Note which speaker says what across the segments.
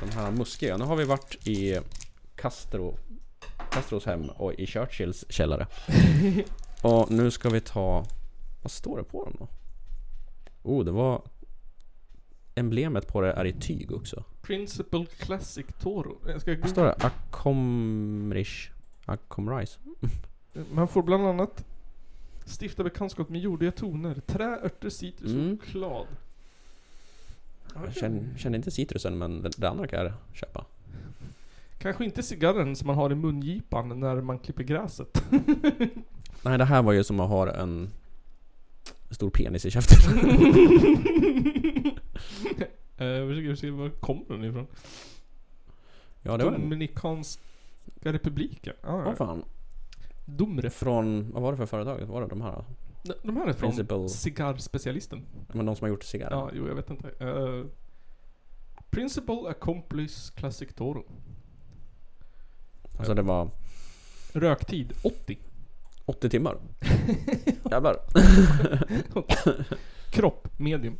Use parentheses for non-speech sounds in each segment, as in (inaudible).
Speaker 1: de här muskiga. Nu har vi varit i Castro, Castros hem och i Churchills källare. och nu ska vi ta... Vad står det på dem då? Oh, det var... Emblemet på det är i tyg också.
Speaker 2: Principal Classic Toro. Jag ska
Speaker 1: Vad står det? Acomrish? Acomrise?
Speaker 2: Man får bland annat stifta bekantskap med jordiga toner. Trä, örter, citrus
Speaker 1: Mm.
Speaker 2: och choklad.
Speaker 1: Jag känner, känner inte citrusen men det, det andra kan jag köpa.
Speaker 2: Kanske inte cigarren som man har i mungipan när man
Speaker 1: (laughs)
Speaker 2: klipper gräset. (laughs)
Speaker 1: Nej, det här var ju som att ha en stor penis i käften.
Speaker 2: Eh, Jag försöker se var kommer den ifrån?
Speaker 1: Ja, det var den.
Speaker 2: Dominikanska republiken? Ah,
Speaker 1: Vad
Speaker 2: ja.
Speaker 1: fan.
Speaker 2: Domref.
Speaker 1: Från, vad var det för företag? Var det de här?
Speaker 2: De- De här är från
Speaker 1: Principal.
Speaker 2: cigarrspecialisten.
Speaker 1: Men de som har gjort cigarrer?
Speaker 2: Ja, jo jag vet inte. Eh, Principal Accomplice Classic Toro.
Speaker 1: Alltså det var
Speaker 2: Röktid 80.
Speaker 1: 80 (laughs) timmar. Jävlar.
Speaker 2: Kropp, medium.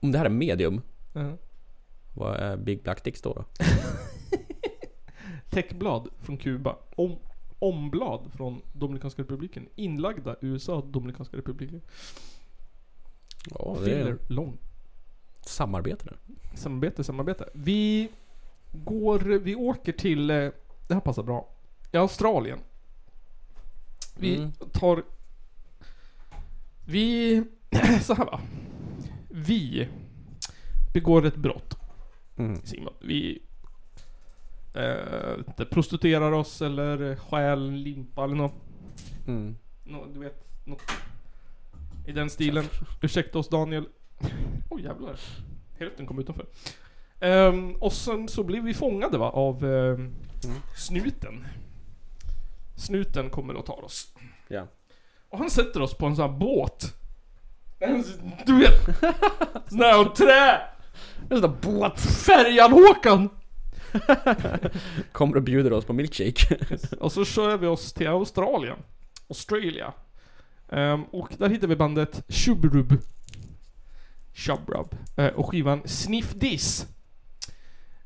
Speaker 1: Om det här är medium,
Speaker 2: Eh,
Speaker 1: vad är Big Black Dick då? då?
Speaker 2: Täckblad från Kuba. Om, omblad från Dominikanska republiken. Inlagda USA, Dominikanska republiken.
Speaker 1: Ja, det
Speaker 2: Filler,
Speaker 1: är
Speaker 2: lång.
Speaker 1: samarbete där.
Speaker 2: Samarbete, samarbete. Vi går, vi åker till, eh, det här passar bra. I Australien. Vi
Speaker 1: Mm.
Speaker 2: tar... Vi... (clears throat) så här va. Vi begår ett brott,
Speaker 1: Mm.
Speaker 2: Simon. Vi... Eh, inte prostituerar oss eller stjäl en limpa eller något.
Speaker 1: Mm.
Speaker 2: Nå, du vet, något i den stilen. (laughs) Ursäkta oss Daniel. (laughs) Åh jävlar. Hälften kom utanför. Ehm, och sen så blev vi fångade va, av ehm, snuten. Snuten kommer och tar oss.
Speaker 1: Ja.
Speaker 2: Och han sätter oss på en sån här båt. En s- Du vet, (laughs) sån här av trä. En sån där båt. Färjan-Håkan.
Speaker 1: Kommer och bjuder oss på milkshake.
Speaker 2: Och så kör vi oss till Australien. Australia. Ehm, och där hittar vi bandet Shubrub. Shubrub. Eh, och skivan Sniff This.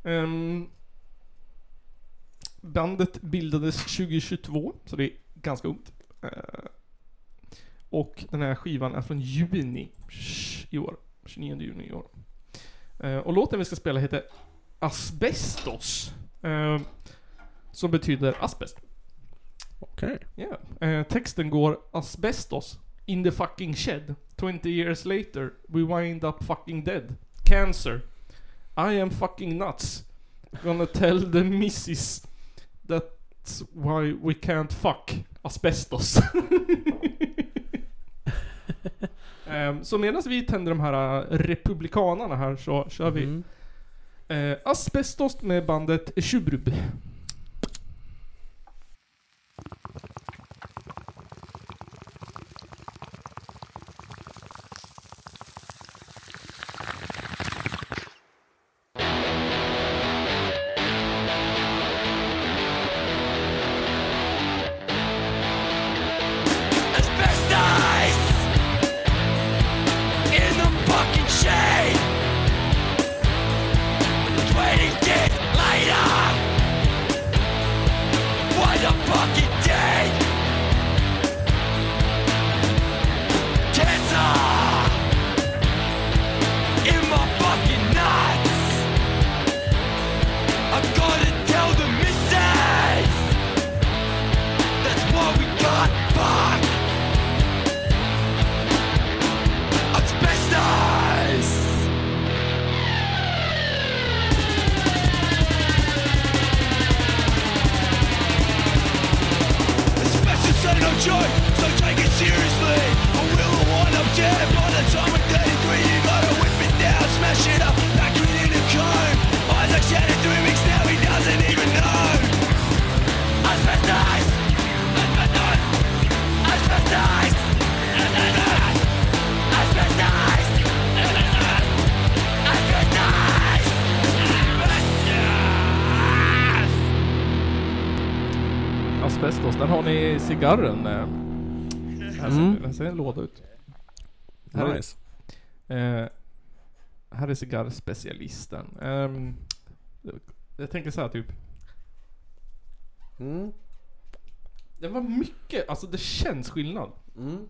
Speaker 2: Ehm, bandet bildades 2022, så det är ganska ungt. Eh, och den här skivan är från juni i år. 29 juni i år. Eh, och låten vi ska spela heter Asbestos. Ehm, som betyder asbest.
Speaker 1: (laughs) Okej.
Speaker 2: Ja. Eh, texten går asbestos in the fucking shed. 20 years later we wind up fucking dead. Cancer. I am fucking nuts. Gonna tell the missus that's why we can't fuck asbestos. (laughs) Ehm, så medan vi tänder de här eh, republikanerna här så kör vi
Speaker 1: Mm.
Speaker 2: eh, asbestos med bandet Tjubrub.
Speaker 3: Asbestos in the fucking shade. Twenty days later, what a fucking day. Cancer in my fucking nuts. I'm gonna tell the missus. That's what we got. Fuck. Asbestos! Asbestos ain't no joke, so take it seriously. Or will I wind up dead by the time I'm 33? You gotta whip it down, smash it up, pack it in a cone. Isaac Shannon three weeks now, he doesn't even know. Asbestos! Asbestos! Asbestos! Asbestos! Asbestos! Asbestos! Asbestos!
Speaker 2: Asbestos, där har ni cigarren. eh. Här ser,
Speaker 1: Mm.
Speaker 2: här ser en låda ut. Här är-
Speaker 1: Nice.
Speaker 2: Eh, här är cigarrspecialisten. Ehm, Jag tänker så här typ.
Speaker 1: Mm.
Speaker 2: Det var mycket, alltså det känns skillnad.
Speaker 1: Mm.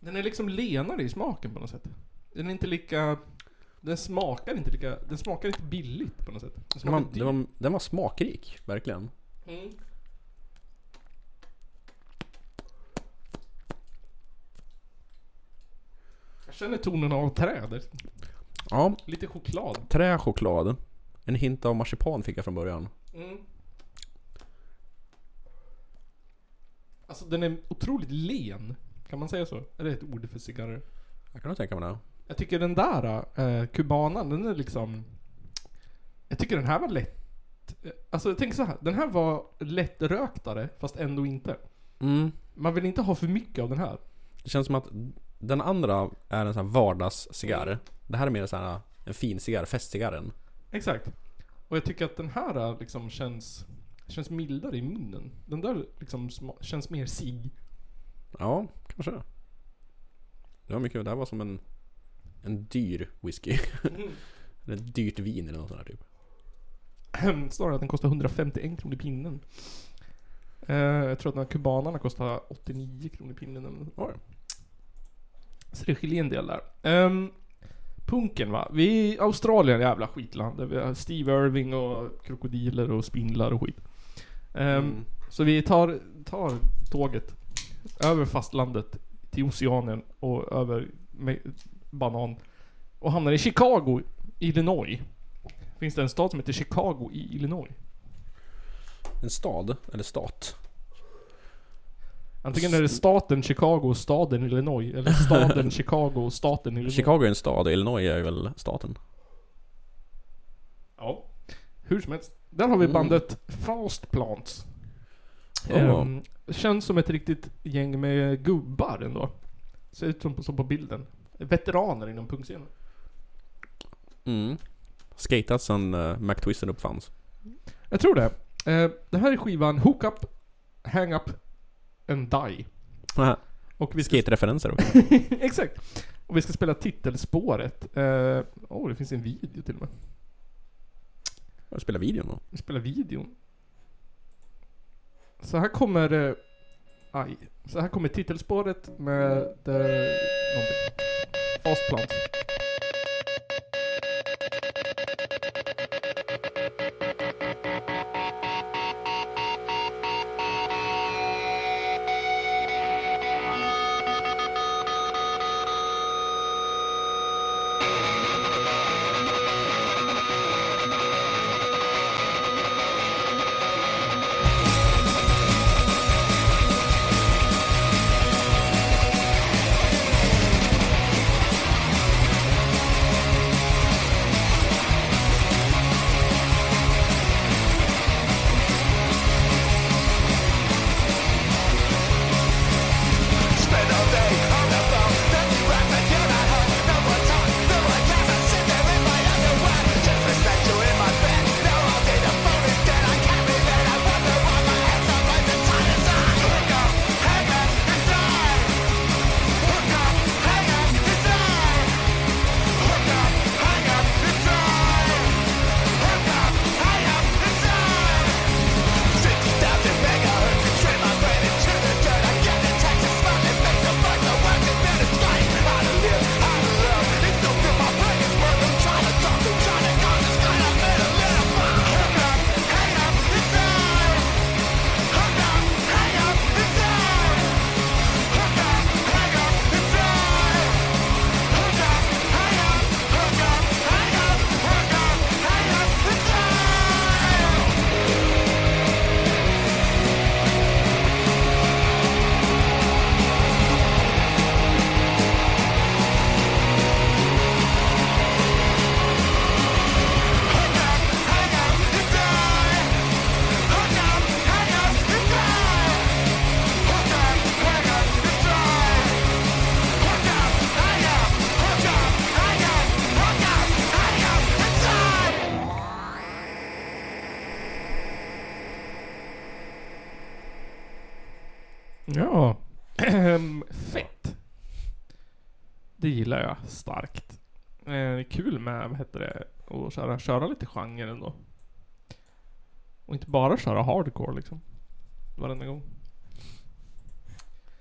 Speaker 2: Den är liksom lenare i smaken på något sätt. Den är inte lika... Den smakar inte lika... Den smakar inte billigt på något sätt. Den
Speaker 1: Den,
Speaker 2: smakar
Speaker 1: var,
Speaker 2: dyrt.
Speaker 1: den, var, den var smakrik, verkligen.
Speaker 2: Mm. Jag känner tonen av träd.
Speaker 1: Ja,
Speaker 2: Lite choklad.
Speaker 1: trä, choklad. En hint av marsipan fick jag från början.
Speaker 2: Mm. Alltså den är otroligt len. Kan man säga så? Är det ett ord för cigarrer?
Speaker 1: Jag kan nog tänka mig det.
Speaker 2: Jag tycker den där, eh, kubanan, den är liksom... Jag tycker den här var lätt... eh, Alltså jag tänker så här. Den här var lättröktare, fast ändå inte.
Speaker 1: Mm.
Speaker 2: Man vill inte ha för mycket av den här.
Speaker 1: Det känns som att den andra är en sån här vardagscigarr. Det här är mer en sån här en fin cigarr, festcigarren.
Speaker 2: Exakt. Och jag tycker att den här eh, liksom känns... Känns mildare i munnen. Den där liksom sma- känns mer sig.
Speaker 1: Ja, kanske. Det var mycket, det här var som en, en dyr
Speaker 2: (laughs)
Speaker 1: whisky. eller ett dyrt vin eller något sånt där typ.
Speaker 2: (clears throat) Snarare att den kostar 151 kronor i pinnen. Eh, jag tror att den här kubanarna kostar 89 kronor i pinnen. eller något.
Speaker 1: Oj.
Speaker 2: Så det skiljer en del där. Ehm, punken va? Vi är Australien, jävla skitland. Där vi har Steve Irving och krokodiler och spindlar och skit. Ehm,
Speaker 1: Mm.
Speaker 2: Så vi tar, tar tåget över fastlandet till Oceanien och över med banan. Och hamnar i Chicago, Illinois. Finns det en stad som heter Chicago i Illinois?
Speaker 1: En stad, eller stat.
Speaker 2: Antingen är det staten Chicago och staden Illinois, eller
Speaker 1: (laughs)
Speaker 2: staden Chicago och staten Illinois.
Speaker 1: Chicago är en stad och Illinois är väl staten.
Speaker 2: Ja. Hur som helst. Där har vi
Speaker 1: Mm.
Speaker 2: bandet Fast Plants.
Speaker 1: Oh.
Speaker 2: Ehm, känns som ett riktigt gäng med gubbar ändå. Ser ut som på, som på bilden. Veteraner inom punkscenen.
Speaker 1: Mm. Skatat sedan uh, McTwisten uppfanns.
Speaker 2: Jag tror det. Ehm, den här är skivan Hook Up, Hang Up and Die.
Speaker 1: Haha,
Speaker 2: Och vi ska
Speaker 1: Skate-referenser också.
Speaker 2: (laughs) Exakt. Och vi ska spela titelspåret. Åh, oh, det finns en video till och med.
Speaker 1: Jag spelar videon då.
Speaker 2: Vi spelar videon. Så här kommer... Eh, aj. Så här kommer titelspåret med... Eh, någonting. Fast plant.
Speaker 3: Spend all day on the phone, then you act like you're not home. No one talks, no one cares. I sit there in my underwear, just respect you in my bed. Now all day the phone is dead. I can't be there. I wonder why my hands are like the tires on. Hook up, hang up, and die. Hook up, hang up, and die. Hook up, hang up, and die. Hook up, hang up, and die. 50,000 megahertz and turn my brain into the dirt. I get the taxes, smile and make the fuck the work and then it's fine. I don't live, I don't love. It's so good, my brain is working. I'm trying to talk to trying to go this kind of middle little fire. Hook up, hang up, it's time. Hook up, hang up, it's time. Hook up, hang up, it's time. Hook up, hang up, hook up, hang up, hook up, hang up, it's time.
Speaker 2: Ja. Ehm, Fett. Det gillar jag starkt. Eh, det är kul med, vad heter det, att köra, köra lite genre ändå. Och inte bara köra hardcore liksom. Varenda gång.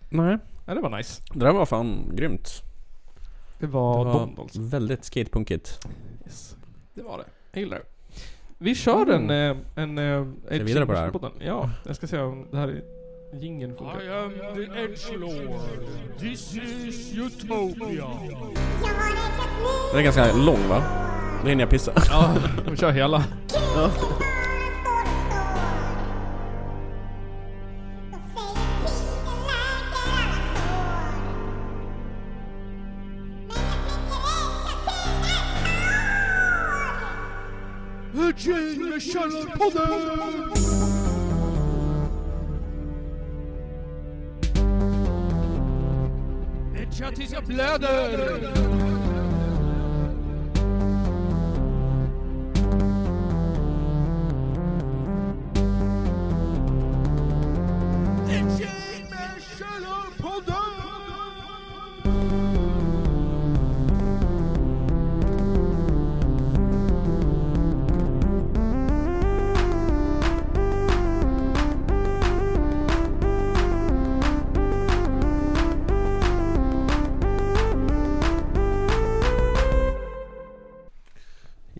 Speaker 1: Nej.
Speaker 2: Ja, det var nice.
Speaker 1: Det där var fan grymt.
Speaker 2: Det var,
Speaker 1: det
Speaker 2: Dondals.
Speaker 1: var väldigt skatepunkigt.
Speaker 2: Yes. Det var det. Jag gillar det. Vi kör en... eh, en, en
Speaker 1: Ska vi vidare på det här?
Speaker 2: Ja, jag ska se om det här är... Jingeln funkar.
Speaker 1: Den är ganska lång va? Nu hinner jag pissa.
Speaker 2: Ja, (laughs) vi kör hela.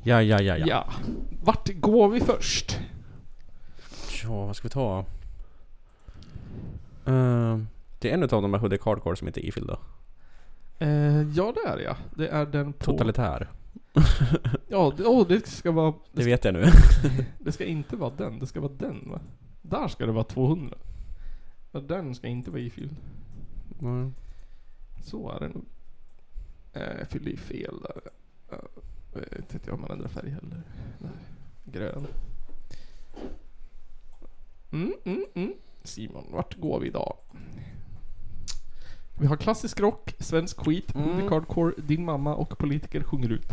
Speaker 1: Ja, ja, ja,
Speaker 2: Ja.
Speaker 1: ja.
Speaker 2: Vart går vi först?
Speaker 1: Ja, vad ska vi ta? Eh, det är en av de här Hoodie Hardcore som inte är ifylld då.
Speaker 2: Eh, ja, det är jag. Det är den på...
Speaker 1: Totalitär.
Speaker 2: Ja, det, oh, det ska vara...
Speaker 1: Det vet jag nu. (laughs)
Speaker 2: Det ska inte vara den, det ska vara den va? Där ska det vara 200. Ja, den ska inte vara ifylld.
Speaker 1: Mm.
Speaker 2: Så är det nog. Eh, jag fyllde i fel där. Eh, Jag vet inte om man ändrar färg heller. Nej. Grön. Mm, mm, mm. Simon, vart går vi idag? Vi har klassisk rock, svensk skit,
Speaker 1: Mm.
Speaker 2: mm. hardcore, din mamma och politiker sjunger ut.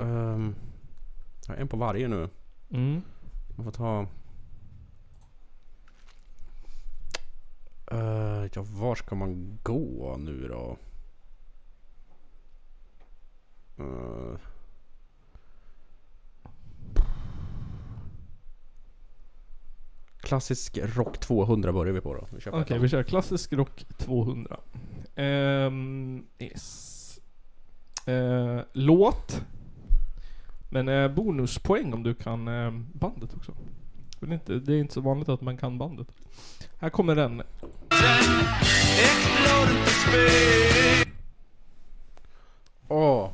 Speaker 1: Ehm, jag har en på varje nu. Man får ta... Eh, ja, var ska man gå nu då? Eh. Klassisk rock 200 börjar vi på då. Vi kör på
Speaker 2: Okej,
Speaker 1: ettan.
Speaker 2: vi kör klassisk rock 200. Ehm, yes. Eh, låt. Men eh, bonuspoäng om du kan eh, bandet också. Det är, inte, det är inte så vanligt att man kan bandet. Här kommer den.
Speaker 1: Åh!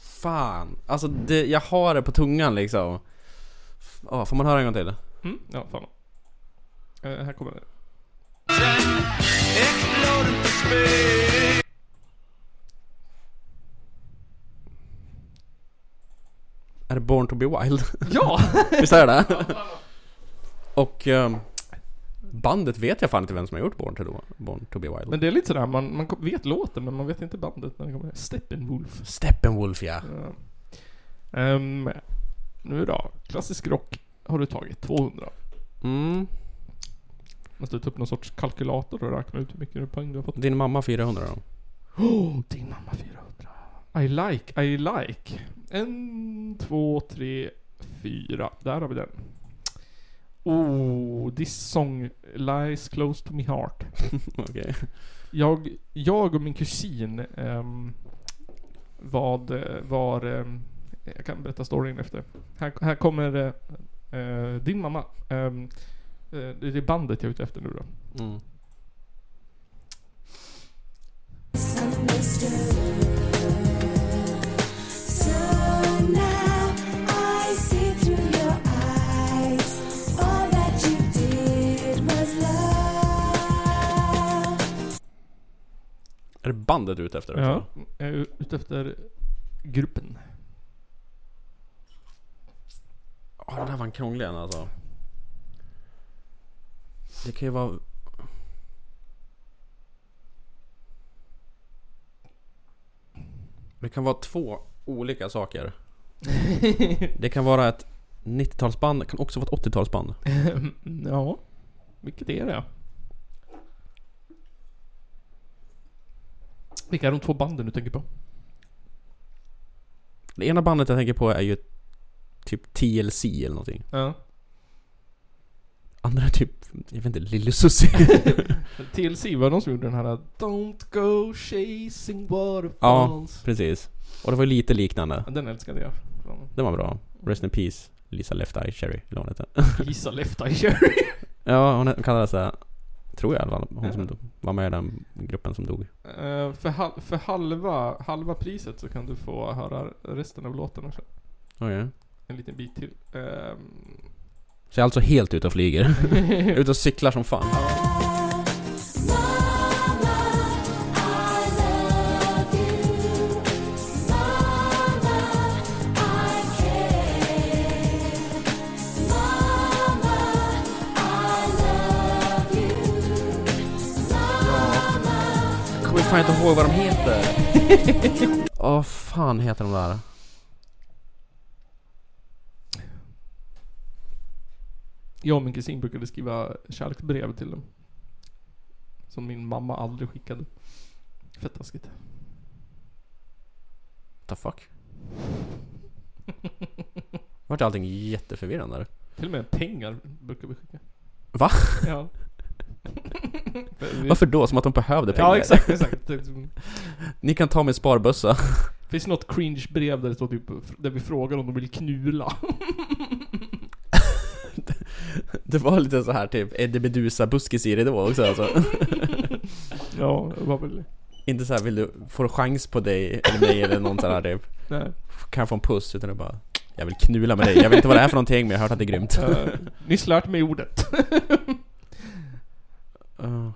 Speaker 1: Fan. Alltså det, jag har det på tungan liksom. Ja, får man höra en gång till?
Speaker 2: Mm, ja, fan. Eh, här kommer den.
Speaker 1: Är det Born to be wild? (laughs)
Speaker 2: Ja!
Speaker 1: Visst är det? Och ehm, bandet vet jag fan inte vem som har gjort Born to, be- Born to be wild.
Speaker 2: men det är lite sådär, man, man vet låten men man vet inte bandet när det kommer. Steppenwolf.
Speaker 1: Steppenwolf ja.
Speaker 2: Ja. Ehm, nu då. Klassisk rock har du tagit 200.
Speaker 1: Mm.
Speaker 2: Måste du ta upp någon sorts kalkylator och räkna ut hur mycket poäng du har fått.
Speaker 1: Din mamma 400 då? (laughs)
Speaker 2: Åh, din mamma 400. I like, I like. En, två, tre, fyra. Där har vi den. Oh, this song lies close to my heart.
Speaker 1: Okej.
Speaker 2: Jag, jag och min kusin ehm, vad, eh, var... ehm, jag kan berätta storyn efter. Här, här kommer eh, eh, din mamma. Ehm, eh, det är bandet jag är ute efter nu då.
Speaker 1: Mm.
Speaker 4: So now I see through your eyes. All that you did was love.
Speaker 1: Är det bandet du är ute efter? också?
Speaker 2: Ja. Jag är ute efter gruppen.
Speaker 1: Ja, den här var en krånglig en alltså. Det kan ju vara... Det kan vara två olika saker. Det kan vara ett 90-talsband kan också vara ett 80-talsband.
Speaker 2: ja, vilket är det? Vilka är de två banden du tänker på?
Speaker 1: Det ena bandet jag tänker på är ju typ TLC eller någonting.
Speaker 2: Ja.
Speaker 1: Andra är typ, jag vet inte, Lille Susie.
Speaker 2: TLC var de som gjorde den här uh, Don't go chasing waterfalls.
Speaker 1: Precis. Och det var ju lite liknande.
Speaker 2: Ja. Den älskade jag.
Speaker 1: Det var bra. Rest in Peace, Lisa Left Eye Cherry, eller vad hon heter.
Speaker 2: Lisa Left Eye Cherry.
Speaker 1: Ja, hon kallades det. Tror jag i alla fall. Hon som var med i den gruppen som dog.
Speaker 2: Eh, för hal- för halva, halva priset så kan du få höra resten av låten också.
Speaker 1: Okej.
Speaker 2: En liten bit till. (laughs) Ehm,
Speaker 1: Så jag är alltså helt ute och (laughs) flyger. Jag är ute och cyklar som fan.
Speaker 4: Mama, I love you. Mama, I care. Mama, I love you.
Speaker 1: Jag kommer fan inte ihåg vad de heter. (laughs) Åh fan heter de där?
Speaker 2: Jag och min kusin brukade skriva kärleksbrev till dem. Som min mamma aldrig skickade. Fett taskigt.
Speaker 1: The fuck? Vart allting jätteförvirrande? där.
Speaker 2: Till och med pengar brukar vi skicka.
Speaker 1: Va? (laughs)
Speaker 2: Ja. För vi-
Speaker 1: Varför då? Som att de behövde pengar?
Speaker 2: Ja, exakt, exakt. Det är liksom-
Speaker 1: Ni kan ta min sparbössa. (laughs)
Speaker 2: Finns det något cringe brev där det står typ, där vi frågar om de
Speaker 1: (laughs)
Speaker 2: vill knula?
Speaker 1: Det var lite så här typ Eddie Meduza buskis i det då också alltså. (laughs)
Speaker 2: ja, det var väl...
Speaker 1: Inte så här vill du få chans på dig eller mig eller någon sån här typ.
Speaker 2: Nej.
Speaker 1: Kan jag få en puss? Utan det är bara Jag vill knula med dig. Jag vet inte vad det är för någonting men jag har hört att det är
Speaker 2: (laughs)
Speaker 1: grymt.
Speaker 2: Uh, nyss lärt mig ordet.
Speaker 1: Uh.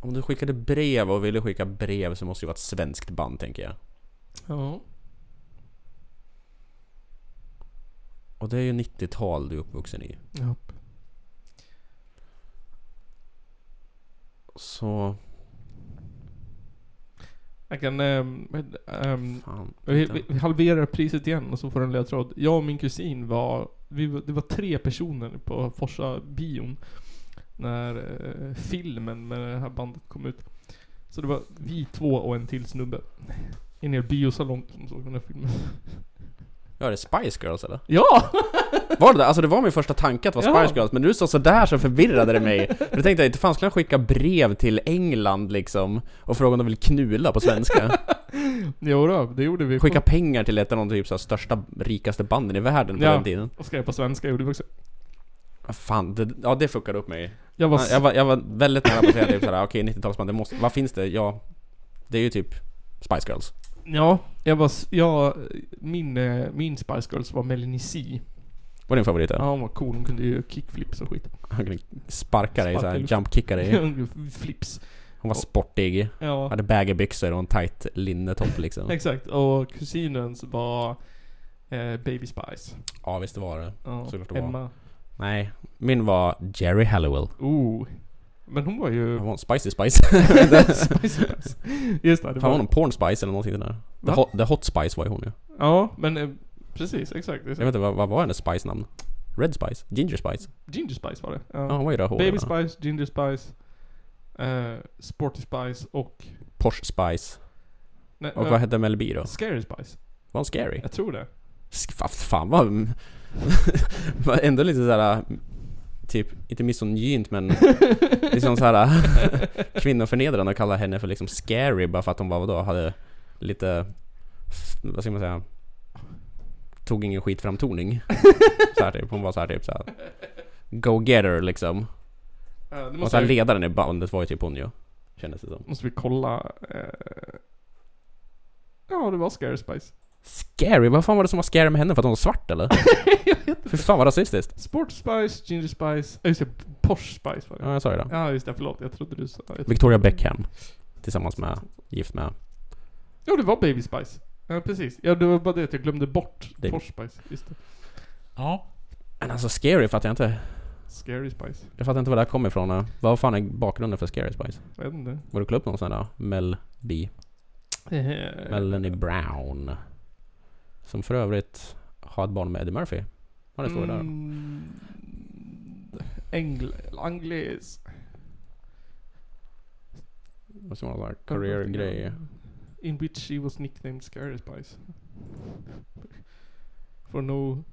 Speaker 1: Om du skickade brev och ville skicka brev så måste det ju vara ett svenskt band tänker jag.
Speaker 2: ja.
Speaker 1: Och det är ju 90-tal du är uppvuxen i.
Speaker 2: ja.
Speaker 1: Så...
Speaker 2: Jag kan... ehm, men, ehm,
Speaker 1: Fan.
Speaker 2: Vi,
Speaker 1: vänta.
Speaker 2: vi, vi halverar priset igen och så får du en ledtråd. Jag och min kusin var, vi, var- det var tre personer på Forsa bion när eh, filmen med det här bandet kom ut. Så det var vi två och en till snubbe. I en hel biosalong som såg den här filmen. (laughs)
Speaker 1: Ja, det är Spice Girls eller?
Speaker 2: Ja!
Speaker 1: Var det det? Alltså det var min första tanke att det var
Speaker 2: Ja.
Speaker 1: Spice Girls, men när du sa sådär så förvirrade det mig. För då tänkte jag, inte fan skulle han skicka brev till England liksom? Och fråga om de vill knula på svenska?
Speaker 2: Jo då, det gjorde vi.
Speaker 1: Skicka pengar till ett av de typ så här största, rikaste banden i världen på
Speaker 2: Ja.
Speaker 1: den tiden.
Speaker 2: Och skrev på svenska gjorde vi också.
Speaker 1: Ah, Fan, det, ja det fuckade upp mig.
Speaker 2: Jag var...
Speaker 1: Ja, Jag var, jag var väldigt nära på att säga typ sådär, okej 90-talsband, det måste, vad finns det? Ja, det är ju typ Spice Girls.
Speaker 2: Ja, jag var... s- Jag, min, eh, min Spice Girls var Melanie C.
Speaker 1: Var din favorit?
Speaker 2: Ja,
Speaker 1: Ja.
Speaker 2: hon var cool. Hon kunde ju kickflips och skit.
Speaker 1: Han kunde sparka dig såhär,
Speaker 2: Sparka ut.
Speaker 1: jumpkicka
Speaker 2: (laughs)
Speaker 1: dig.
Speaker 2: Flips.
Speaker 1: Hon var sportig,
Speaker 2: Ja.
Speaker 1: hade baggybyxor och en tight linnetopp liksom.
Speaker 2: Exakt, och kusinens var eh, Baby Spice.
Speaker 1: Ja visst var det.
Speaker 2: Ja,
Speaker 1: Såklart det var.
Speaker 2: Emma.
Speaker 1: Nej, min var Jerry Halliwell.
Speaker 2: Oh. Men hon var ju...
Speaker 1: Vad var hon? Spicy
Speaker 2: (laughs)
Speaker 1: Spice?
Speaker 2: Spice Spice. Just det,
Speaker 1: Fan
Speaker 2: det
Speaker 1: var
Speaker 2: var
Speaker 1: hon Porn Spice eller någonting där? The
Speaker 2: Va?
Speaker 1: hot, the hot Spice var ju hon ju.
Speaker 2: Ja, men eh, precis, exakt.
Speaker 1: Jag vet inte, vad, vad var hennes Spice-namn? Red Spice? Ginger Spice?
Speaker 2: Ginger Spice var det.
Speaker 1: Ja, hon var ju rödhårig.
Speaker 2: Baby
Speaker 1: va?
Speaker 2: Spice, Ginger Spice, eh, Sporty Spice och...
Speaker 1: Porsche Spice.
Speaker 2: Nej,
Speaker 1: Och
Speaker 2: eh,
Speaker 1: vad hette Mel B då?
Speaker 2: Scary Spice.
Speaker 1: Var hon scary?
Speaker 2: Jag tror det.
Speaker 1: Sk- fa- Fan vad... (laughs) var ändå lite såhär... Typ, inte misogynt men... liksom såhär... (laughs) kvinnoförnedrande att kalla henne för liksom scary bara för att hon var vadå, hade lite... f- Vad ska man säga? Tog ingen skit framtoning. såhär typ, hon var såhär typ såhär... Go-getter liksom.
Speaker 2: Eh, det
Speaker 1: Och
Speaker 2: måste,
Speaker 1: såhär
Speaker 2: jag,
Speaker 1: ledaren i bandet var ju typ hon ju. Kändes det som.
Speaker 2: måste vi kolla... Eh, ja, det var Scary Spice.
Speaker 1: Scary? Vad fan var det som var scary med henne? För att hon var svart eller? Fy fan vad rasistiskt.
Speaker 2: Sporty Spice, Ginger Spice... Äh, just det, Porsche Spice var det.
Speaker 1: Ja, jag sa ju det.
Speaker 2: Ja, just det. Förlåt. Jag trodde du sa... Jag trodde...
Speaker 1: Victoria Beckham. Tillsammans med, gift med
Speaker 2: Ja, det var Baby Spice. Ja, precis. Ja, det var bara det att jag glömde bort
Speaker 1: Det-
Speaker 2: Porsche Spice. Just det.
Speaker 5: Ja.
Speaker 1: Men alltså Scary fattar jag inte.
Speaker 2: Scary Spice.
Speaker 1: Jag fattar inte var det här kommer ifrån. eh. Vad fan är bakgrunden för Scary Spice?
Speaker 2: Jag vet inte.
Speaker 1: Var du klubb någon sån här Mel B?
Speaker 2: Eh,
Speaker 1: Melanie Brown. Som för övrigt har ett barn med Eddie Murphy. Har det står mm. där.
Speaker 2: Mm, Engl... Anglis...
Speaker 1: Måste vara en sån här career-grej.
Speaker 2: In which she was nicknamed Scary Spice. For no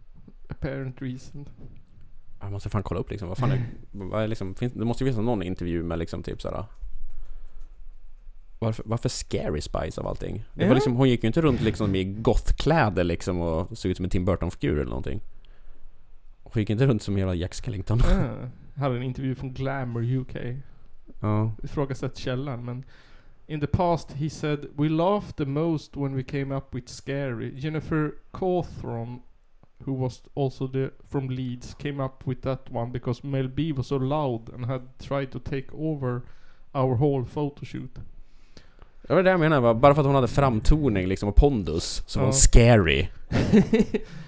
Speaker 2: apparent reason.
Speaker 1: (laughs) Jag måste fan kolla upp liksom. Vad fan är, vad är liksom finns, det måste ju finnas någon intervju med liksom typ såhär. Varför, varför Scary Spice av allting? Det
Speaker 2: Ja.
Speaker 1: var liksom, hon gick ju inte runt liksom i gothkläder liksom och såg ut som en Tim Burton-figur eller någonting. Hon gick inte runt som en jävla Jack Skellington.
Speaker 2: Ah, hade en intervju från Glamour UK.
Speaker 1: Ja.
Speaker 2: ifrågasatt källan men In the past he said We laughed the most when we came up with Scary. Jennifer Cawthron who was also the from Leeds came up with that one because Mel B was so loud and had tried to take over our whole photoshoot.
Speaker 1: Det var det jag menade. va? Bara för att hon hade framtoning liksom och pondus så var
Speaker 2: Ja.
Speaker 1: hon scary.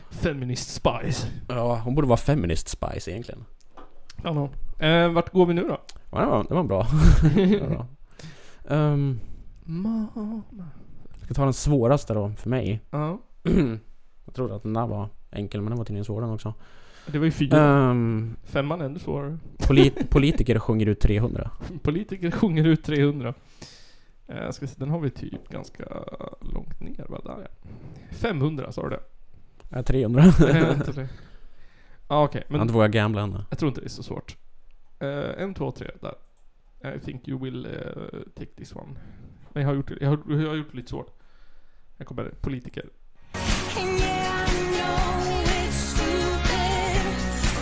Speaker 2: Feminist spies.
Speaker 1: Ja, hon borde vara feminist Spice egentligen.
Speaker 2: Ja, no. eh, vart går vi nu då?
Speaker 1: Ja, det var, det var bra. (laughs) det var
Speaker 2: (laughs)
Speaker 1: bra. Ehm,
Speaker 2: Mama.
Speaker 1: jag ska ta den svåraste då för mig.
Speaker 2: Ja.
Speaker 1: (clears throat) jag trodde att den där var enkel men den var tydligen svår den också.
Speaker 2: Det var ju fyra.
Speaker 1: Ehm,
Speaker 2: Femman är ändå svårare.
Speaker 1: poli- (laughs) politiker sjunger ut 300.
Speaker 2: (laughs) Politiker sjunger ut 300. Eh, ska se, den har vi typ ganska långt ner. Va? Där, ja. 500 sa du det?
Speaker 1: Ja, 300.
Speaker 2: Eh,
Speaker 1: (laughs)
Speaker 2: inte det. Ja, okej.
Speaker 1: Men... Han
Speaker 2: men
Speaker 1: vågar gambla ännu.
Speaker 2: jag tror inte det är så svårt. Eh, en, två, tre. Där. I think you will eh, take this one. Men jag har gjort det, jag har, jag har gjort det lite svårt. Jag kommer. Politiker.
Speaker 4: And yeah, I know it's stupid,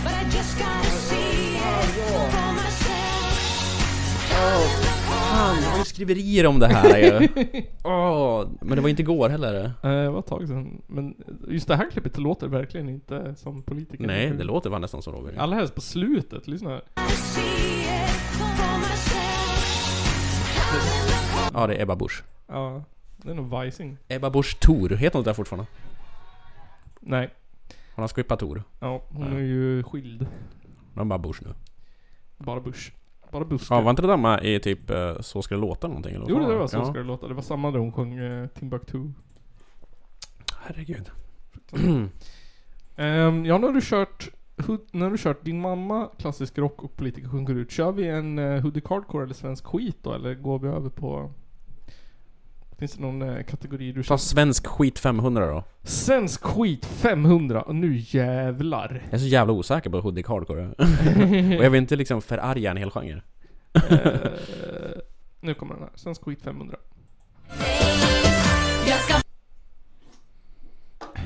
Speaker 4: but I just gotta see it for myself.
Speaker 1: Fan, jag har ju skriverier om det här (laughs) ju. Åh, men det var inte igår heller.
Speaker 2: Eh, det var ett tag sedan. Men just det här klippet låter verkligen inte som politiker.
Speaker 1: Nej, det låter fan nästan som Roger.
Speaker 2: Allra helst på slutet. Lyssna. här.
Speaker 4: I see it for myself.
Speaker 1: Ja, det är Ebba Busch.
Speaker 2: Ja, det är nog vajsing.
Speaker 1: Ebba Busch Thor, heter hon inte det fortfarande?
Speaker 2: Nej.
Speaker 1: Hon har skippat Thor.
Speaker 2: Ja, hon
Speaker 1: Nej.
Speaker 2: är ju skild.
Speaker 1: Hon har bara Busch nu.
Speaker 2: Bara bush. Bara buskar.
Speaker 1: Ja, var inte det där med i typ eh, Så ska det låta eller någonting? Eller vad
Speaker 2: jo,
Speaker 1: fan
Speaker 2: det var så
Speaker 1: ja.
Speaker 2: ska det låta. Det var samma då hon sjöng eh, Timbuktu.
Speaker 1: Herregud. (clears throat)
Speaker 2: Ehm, ja, nu har du kört... hu- Nu har du kört din mamma, klassisk rock och politiker sjunger ut. Kör vi en uh, Hoodie Hardcore eller svensk skit då? Eller går vi över på... Finns det någon eh, kategori du
Speaker 1: Ta
Speaker 2: känner?
Speaker 1: svensk skit 500 då.
Speaker 2: Svensk skit 500! Och nu jävlar!
Speaker 1: (laughs) Jag är så jävla osäker på Hudik Hardcore. Och jag vill inte liksom förarga en hel genre.
Speaker 2: Eh, nu kommer den här. Svensk skit 500.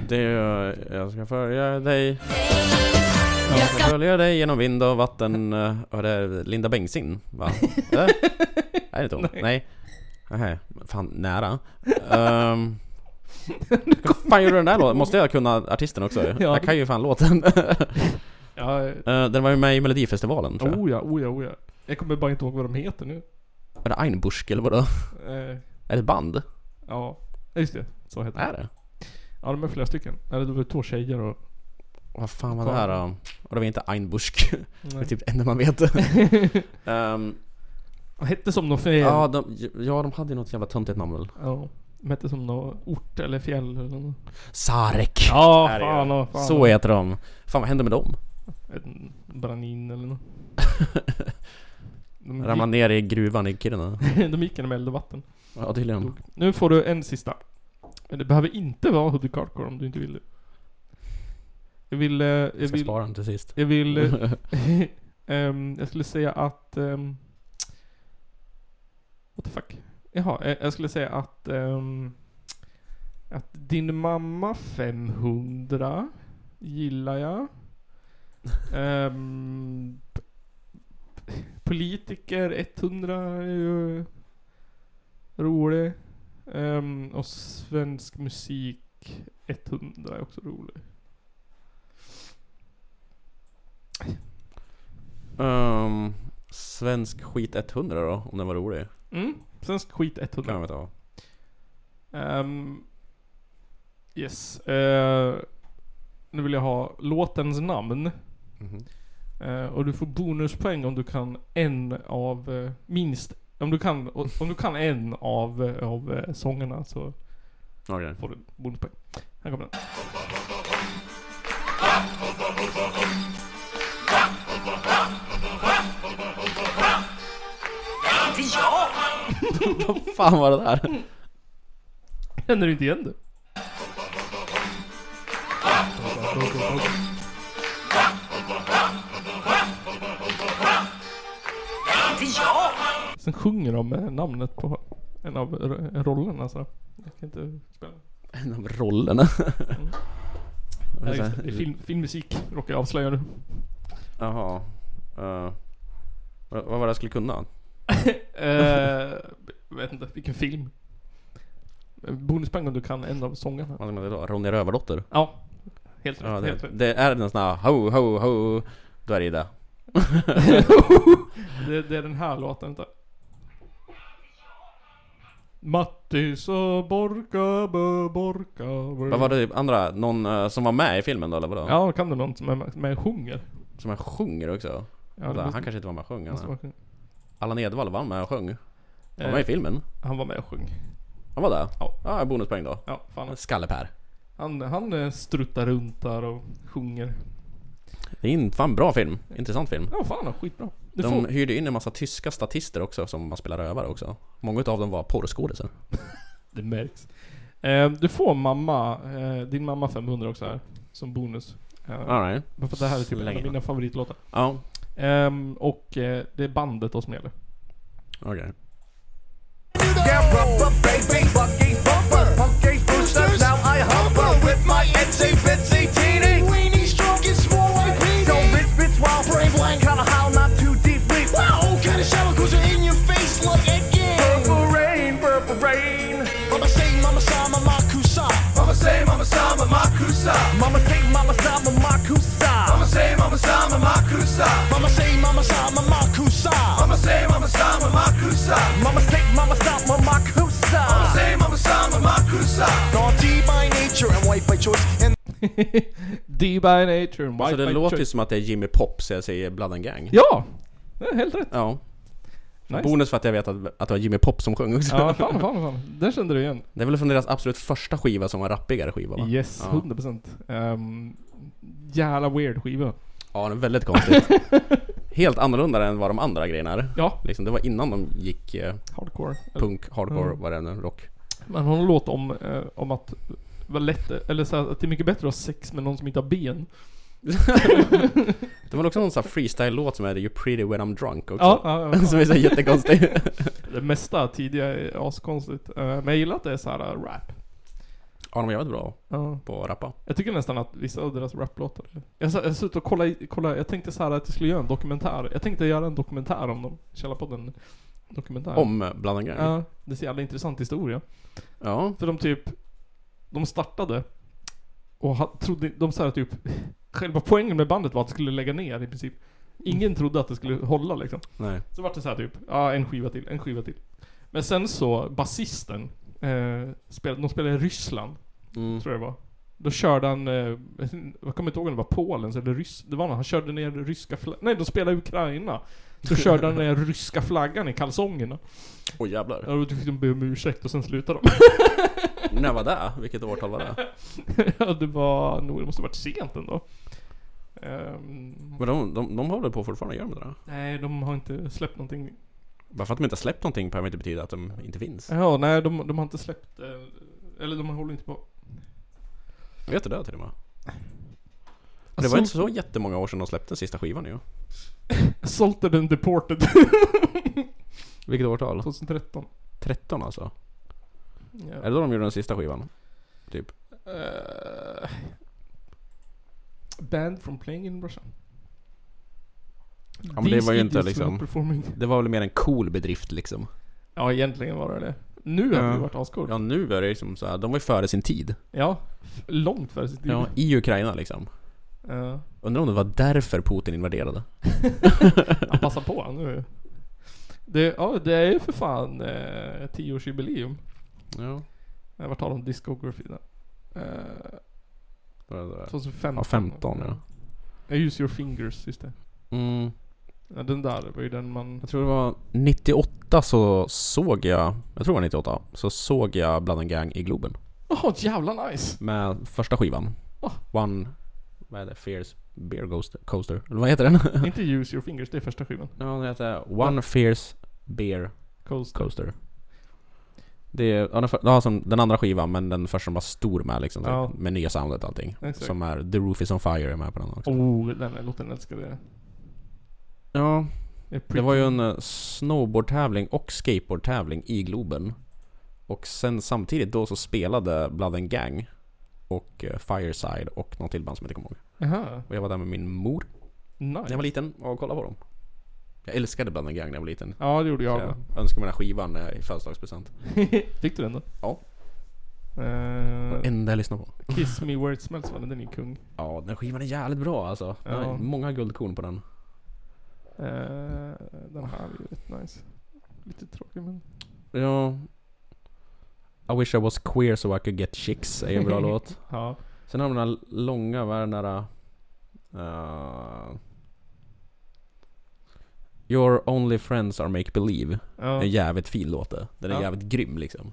Speaker 1: Det är, eh, jag ska följa dig. Jag ska följa dig genom vind och vatten. eh, Och det är Linda Bengtzing va? Eller? Nej, det är inte hon.
Speaker 2: Nej.
Speaker 1: Nej. Nej. Fan, nära. (laughs) Um, hur fan gjorde du den där låten? Måste jag kunna artisten också? Jag kan ju fan låten. (laughs)
Speaker 2: Ja, eh,
Speaker 1: Eh, den var ju med i Melodifestivalen tror jag.
Speaker 2: oh ja, oh ja, oh ja. Jag kommer bara inte ihåg vad de heter nu.
Speaker 1: Är det Einbusk eller vadå?
Speaker 2: Eh,
Speaker 1: Är det ett band?
Speaker 2: Ja, just det. Så heter det.
Speaker 1: Är det?
Speaker 2: Ja, de är flera stycken. Eller det var två tjejer och...
Speaker 1: Vad fan var det här då? Och det var inte Einbusk. Det är
Speaker 2: Nej.
Speaker 1: typ det enda man vet.
Speaker 2: (laughs)
Speaker 1: Ehm,
Speaker 2: De hette som någon fel.
Speaker 1: ja,
Speaker 2: Ja.
Speaker 1: de, ja, de hade ju något jävla töntigt namn väl?
Speaker 2: De hette som någon ort eller fjäll eller något.
Speaker 1: Sarek!
Speaker 2: Ja,
Speaker 1: Är det
Speaker 2: fan
Speaker 1: ju.
Speaker 2: och fan.
Speaker 1: Så heter de. Fan vad hände med dem?
Speaker 2: En branin eller något.
Speaker 1: (laughs)
Speaker 2: De
Speaker 1: Ramlade ner i gruvan i Kiruna?
Speaker 2: gick, (laughs) de gick genom eld och vatten.
Speaker 1: Ja tydligen.
Speaker 2: Nu får du en sista. Men Det behöver inte vara Hoodie Hardcore om du inte vill det. Jag vill... eh, Jag
Speaker 1: Jag ska
Speaker 2: vill...
Speaker 1: spara den till sist.
Speaker 2: Jag vill... eh, Ehm, jag skulle säga att... ehm, what the fuck? Jaha, eh, jag skulle säga att... ehm, att din mamma 500 gillar jag. Ehm, p- politiker 100 är ju rolig. Ehm, och svensk musik 100 är också rolig.
Speaker 1: (laughs) Ehm, svensk skit 100 då, om den var rolig.
Speaker 2: Mm, svensk skit 100.
Speaker 1: Kan jag veta.
Speaker 2: Ehm, yes. Eh, nu vill jag ha låtens namn.
Speaker 1: Mhm.
Speaker 2: Eh, och du får bonuspoäng om du kan en av eh, minst Om du kan, om du kan en av, eh, av eh, sångerna så
Speaker 1: Okej.
Speaker 2: får du bonuspoäng. Här kommer den.
Speaker 1: Vad fan var det
Speaker 2: Mm.
Speaker 1: där?
Speaker 2: Känner du inte igen det? Sen sjunger de eh, namnet på en av ro- rollerna så. Jag kan inte spela.
Speaker 1: En av rollerna. (laughs)
Speaker 2: Nej, Mm. just det. Det är film, filmmusik, råkar jag avslöja nu.
Speaker 1: Jaha. Eh, vad vad var det jag skulle kunna?
Speaker 2: Eh, jag vet inte, vilken film? Bonuspoäng om du kan en av sångerna.
Speaker 1: Vad ska man säga då? Ronja Rövardotter?
Speaker 2: Ja, helt rätt.
Speaker 1: Ja,
Speaker 2: helt
Speaker 1: det,
Speaker 2: rätt.
Speaker 1: det är den sån här ho, ho, ho. Då är det det.
Speaker 2: Det, det är den här låten, inte? Mattis och Borka, bö, Borka, bö.
Speaker 1: Vad var det andra? Någon eh, som var med i filmen då eller vadå?
Speaker 2: Ja, kan du någon som är med, med och sjunger?
Speaker 1: Som han sjunger också?
Speaker 2: Ja,
Speaker 1: Vänta,
Speaker 2: det måste-
Speaker 1: han kanske inte var med och sjöng?
Speaker 2: måste
Speaker 1: Han.
Speaker 2: vara sjung.
Speaker 1: Allan Edwall var han med och sjöng? Var han
Speaker 2: Eh,
Speaker 1: med i filmen?
Speaker 2: Han var med och sjöng.
Speaker 1: Han var där?
Speaker 2: Ja.
Speaker 1: Ja, bonuspoäng då.
Speaker 2: Ja, fan.
Speaker 1: Skalle-Per.
Speaker 2: Han, han eh, struttar runt där och sjunger.
Speaker 1: Det är en fan bra film. Intressant film.
Speaker 2: Ja, fan han är skitbra. Du
Speaker 1: De
Speaker 2: får...
Speaker 1: hyrde in en massa tyska statister också som man spelar rövare också. Många av dem var porrskådisar.
Speaker 2: Det märks. Eh, du får mamma, eh, din mamma 500 också här. Som bonus. Eh,
Speaker 1: Alright.
Speaker 2: bara För att det här är typ en
Speaker 1: Släng
Speaker 2: av
Speaker 1: in.
Speaker 2: mina favoritlåtar.
Speaker 1: Ja,
Speaker 2: Ehm, och eh, det är bandet då som gäller.
Speaker 1: okej.
Speaker 5: Yeah, rubber, baby, bucky, bumper, punky, booster. Now I humper with my itsy bitsy teeny weeny, strong and small like peeny. So bitch, bitch, wild, brave, lang, kinda how not too deep, deep. Wow, kind of shallow, cause you're in your face, look again. Purple rain, purple rain. Mama say, mama saw, mama kusa. Mama say, mama saw, mama kusa. Mama say, mama saw, mama kusa. Mama say, mama saw, mama kusa. Mama say, mama saw, mama kusa. Mama say, mama saw, mama kusa. Mama say, mama saw, mama kusa. Mama say, mama saw, mama kusa. Naughty by nature and white by choice. And
Speaker 2: D by nature and
Speaker 1: Så
Speaker 2: white
Speaker 1: Alltså, det
Speaker 2: by
Speaker 1: låter ju
Speaker 2: choice.
Speaker 1: som att det är Jimmy Pop så jag säger Blood and Gang.
Speaker 2: Ja! Det är helt rätt.
Speaker 1: Ja.
Speaker 2: Nice.
Speaker 1: Bonus för att jag vet att, att det var Jimmy Pop som sjöng också.
Speaker 2: Ja, (laughs) fan, fan, fan. Där kände du igen.
Speaker 1: Det är väl från deras absolut första skiva som var en rappigare skiva va?
Speaker 2: Yes,
Speaker 1: Ja.
Speaker 2: 100%. Um, jävla weird skiva.
Speaker 1: Ja, den är väldigt
Speaker 2: (laughs)
Speaker 1: konstigt. Helt annorlunda än vad de andra grejerna är.
Speaker 2: Ja,
Speaker 1: Liksom, det var innan de gick eh,
Speaker 2: hardcore.
Speaker 1: punk, hardcore,
Speaker 2: Mm.
Speaker 1: vad det nu rock.
Speaker 2: Man har en låt om, eh, om att vara lätt, eller så här, att det är mycket bättre att ha sex med någon som inte har ben.
Speaker 1: Det var också någon sån här freestyle-låt som heter You pretty when I'm drunk också.
Speaker 2: Ja, ja, ja.
Speaker 1: (laughs) Som är så jättekonstig.
Speaker 2: Det mesta tidiga är askonstigt. Eh, men jag gillar att det är så här eh, rap.
Speaker 1: ja, de är jävligt bra
Speaker 2: Ja.
Speaker 1: på att rappa.
Speaker 2: Jag tycker nästan att vissa av deras raplåtar... Jag sa- jag satt och kollade, kollade, jag tänkte så här att jag skulle göra en dokumentär. Jag tänkte göra en dokumentär om dem. Källarpodden dokumentär.
Speaker 1: Om eh, Blood and Gang.
Speaker 2: Ja, det är en så jävla intressant historia.
Speaker 1: Ja.
Speaker 2: För de typ, de startade och ha, trodde, de sa typ, själva poängen med bandet var att det skulle lägga ner i princip. Ingen trodde att det skulle hålla liksom.
Speaker 1: Nej.
Speaker 2: Så vart det så här typ, ja en skiva till, en skiva till. Men sen så, basisten, eh, spel, de spelade i Ryssland,
Speaker 1: Mm.
Speaker 2: tror jag det var. Då körde han, eh, (laughs) jag kommer inte ihåg om det var Polen så eller Ryss, det var någon, han körde ner ryska flaggan, nej de spelade i Ukraina. Så körde han ner ryska flaggan i kalsongerna.
Speaker 1: Åh jävlar.
Speaker 2: Ja, då fick de be om ursäkt och sen slutade de. (laughs)
Speaker 1: När var det? Vilket årtal var det?
Speaker 2: Ja, det var nog, det måste ha varit sent ändå. Ehm,
Speaker 1: Men de, de, de håller på fortfarande, gör de det? där?
Speaker 2: nej, de har inte släppt någonting.
Speaker 1: Bara för att de inte har släppt någonting behöver inte betyda att de inte finns.
Speaker 2: Ja, nej, de, de har inte släppt, eh, eller de håller inte på.
Speaker 1: Vet du det till och med? Det var inte Alltså, så jättemånga år sedan de släppte den sista skivan ju.
Speaker 2: Assaulted and deported (laughs)
Speaker 1: Vilket årtal?
Speaker 2: 2013.
Speaker 1: 13 alltså?
Speaker 2: Ja.
Speaker 1: Är det då de gjorde den sista skivan?
Speaker 2: Eh, banned from playing in Russia.
Speaker 1: men det var ju inte
Speaker 2: idiots were
Speaker 1: liksom-
Speaker 2: not Performing.
Speaker 1: Det var väl mer en cool bedrift liksom.
Speaker 2: Ja, egentligen var det det. Nu har
Speaker 1: Ja.
Speaker 2: det varit ascoolt. Ja.
Speaker 1: Ja nu är det liksom så här, de var ju före sin tid.
Speaker 2: f- långt före sitt liv. Eh,
Speaker 1: Ja, i Ukraina liksom.
Speaker 2: Ja.
Speaker 1: Undrar om det var därför Putin invaderade?
Speaker 2: Han passar på nu. Det, ja, det är ju för fan eh, 10-årsjubileum.
Speaker 1: Ja.
Speaker 2: Det var tal om discography där. Eh,
Speaker 1: det var det.
Speaker 2: 2015.
Speaker 1: Ja, 15 ja.
Speaker 2: Eh, ja. Use your fingers, just det.
Speaker 1: Mm.
Speaker 2: Ja, den där var ju den man...
Speaker 1: Jag tror det var 98 så såg jag, jag tror det var 98, så såg jag Blood and Gang i Globen.
Speaker 2: Åh, jävla nice!
Speaker 1: Med första skivan.
Speaker 2: Ah.
Speaker 1: One, vad är det? Fierce Beer Ghost Coaster. Eller vad heter den?
Speaker 2: Inte Use Your Fingers, det är första skivan.
Speaker 1: ja, den heter One Fierce Beer
Speaker 2: Coast.
Speaker 1: Coaster. Det är, ja, den, för, ja, som den andra skivan men den första som var stor med liksom, så-
Speaker 2: Ja.
Speaker 1: med nya soundet och allting.
Speaker 2: Exakt.
Speaker 1: Som är The Roof Is On Fire är med på den också.
Speaker 2: Oh, den här låten älskade jag.
Speaker 1: Ja,
Speaker 2: Det, är
Speaker 1: Det
Speaker 2: pretty-
Speaker 1: var ju en eh, snowboardtävling och skateboardtävling i Globen. Och sen samtidigt då så spelade Blood and Gang och eh, Fireside och någon till band som jag inte kommer ihåg.
Speaker 2: Aha,
Speaker 1: Och jag var där med min mor när
Speaker 2: nice.
Speaker 1: jag var liten och kollade på dem. Jag älskade Blood and Gang när jag var liten.
Speaker 2: Ja, det gjorde jag.
Speaker 1: Så
Speaker 2: med.
Speaker 1: jag önskade mig den här skivan eh, i födelsedagspresent.
Speaker 2: (laughs) Fick du den då?
Speaker 1: Ja. Det var
Speaker 2: Eh,
Speaker 1: det enda jag lyssnade på.
Speaker 2: Kiss Me Where It Smells var den, den är ju kung.
Speaker 1: Ja, den skivan är jävligt bra alltså. Den har
Speaker 2: Ja.
Speaker 1: Många guldkorn på den.
Speaker 2: Eh, den här är ju rätt nice. Lite tråkig men...
Speaker 1: Ja... I wish I was queer so I could get chicks är en
Speaker 2: (laughs)
Speaker 1: bra låt.
Speaker 2: Ja.
Speaker 1: Sen har de den här långa, vad är den där... eh, Your only friends are make believe.
Speaker 2: ja.
Speaker 1: En jävligt fin låt det. Den är
Speaker 2: Ja.
Speaker 1: jävligt grym liksom.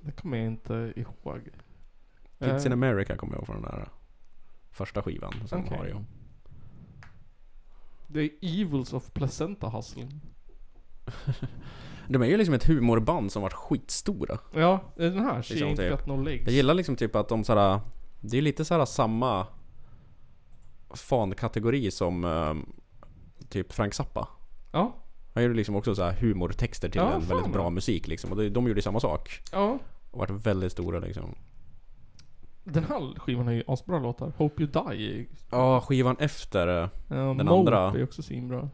Speaker 2: Det kommer jag inte ihåg.
Speaker 1: Kids in
Speaker 2: Eh,
Speaker 1: America kommer jag ihåg från den där första skivan som
Speaker 2: Okej.
Speaker 1: har ju.
Speaker 2: det är Evils of Placenta Hustle.
Speaker 1: De är ju liksom ett humorband som varit skitstora.
Speaker 2: Ja, den här ser
Speaker 1: Liksom,
Speaker 2: jag inte
Speaker 1: typ.
Speaker 2: got no legs.
Speaker 1: Jag gillar liksom typ att de såhär... Det är lite såhär samma fan-kategori som eh, typ Frank Zappa.
Speaker 2: Ja,
Speaker 1: Han gjorde liksom också så här humortexter till
Speaker 2: Ja,
Speaker 1: en
Speaker 2: fan,
Speaker 1: väldigt bra
Speaker 2: ja.
Speaker 1: musik liksom. Och de, de gjorde samma sak.
Speaker 2: ja.
Speaker 1: Och varit väldigt stora liksom.
Speaker 2: Den här skivan har ju asbra låtar. Hope You Die.
Speaker 1: Ja, skivan efter eh,
Speaker 2: Uh,
Speaker 1: Den
Speaker 2: den
Speaker 1: andra.
Speaker 2: andra. är också svinbra.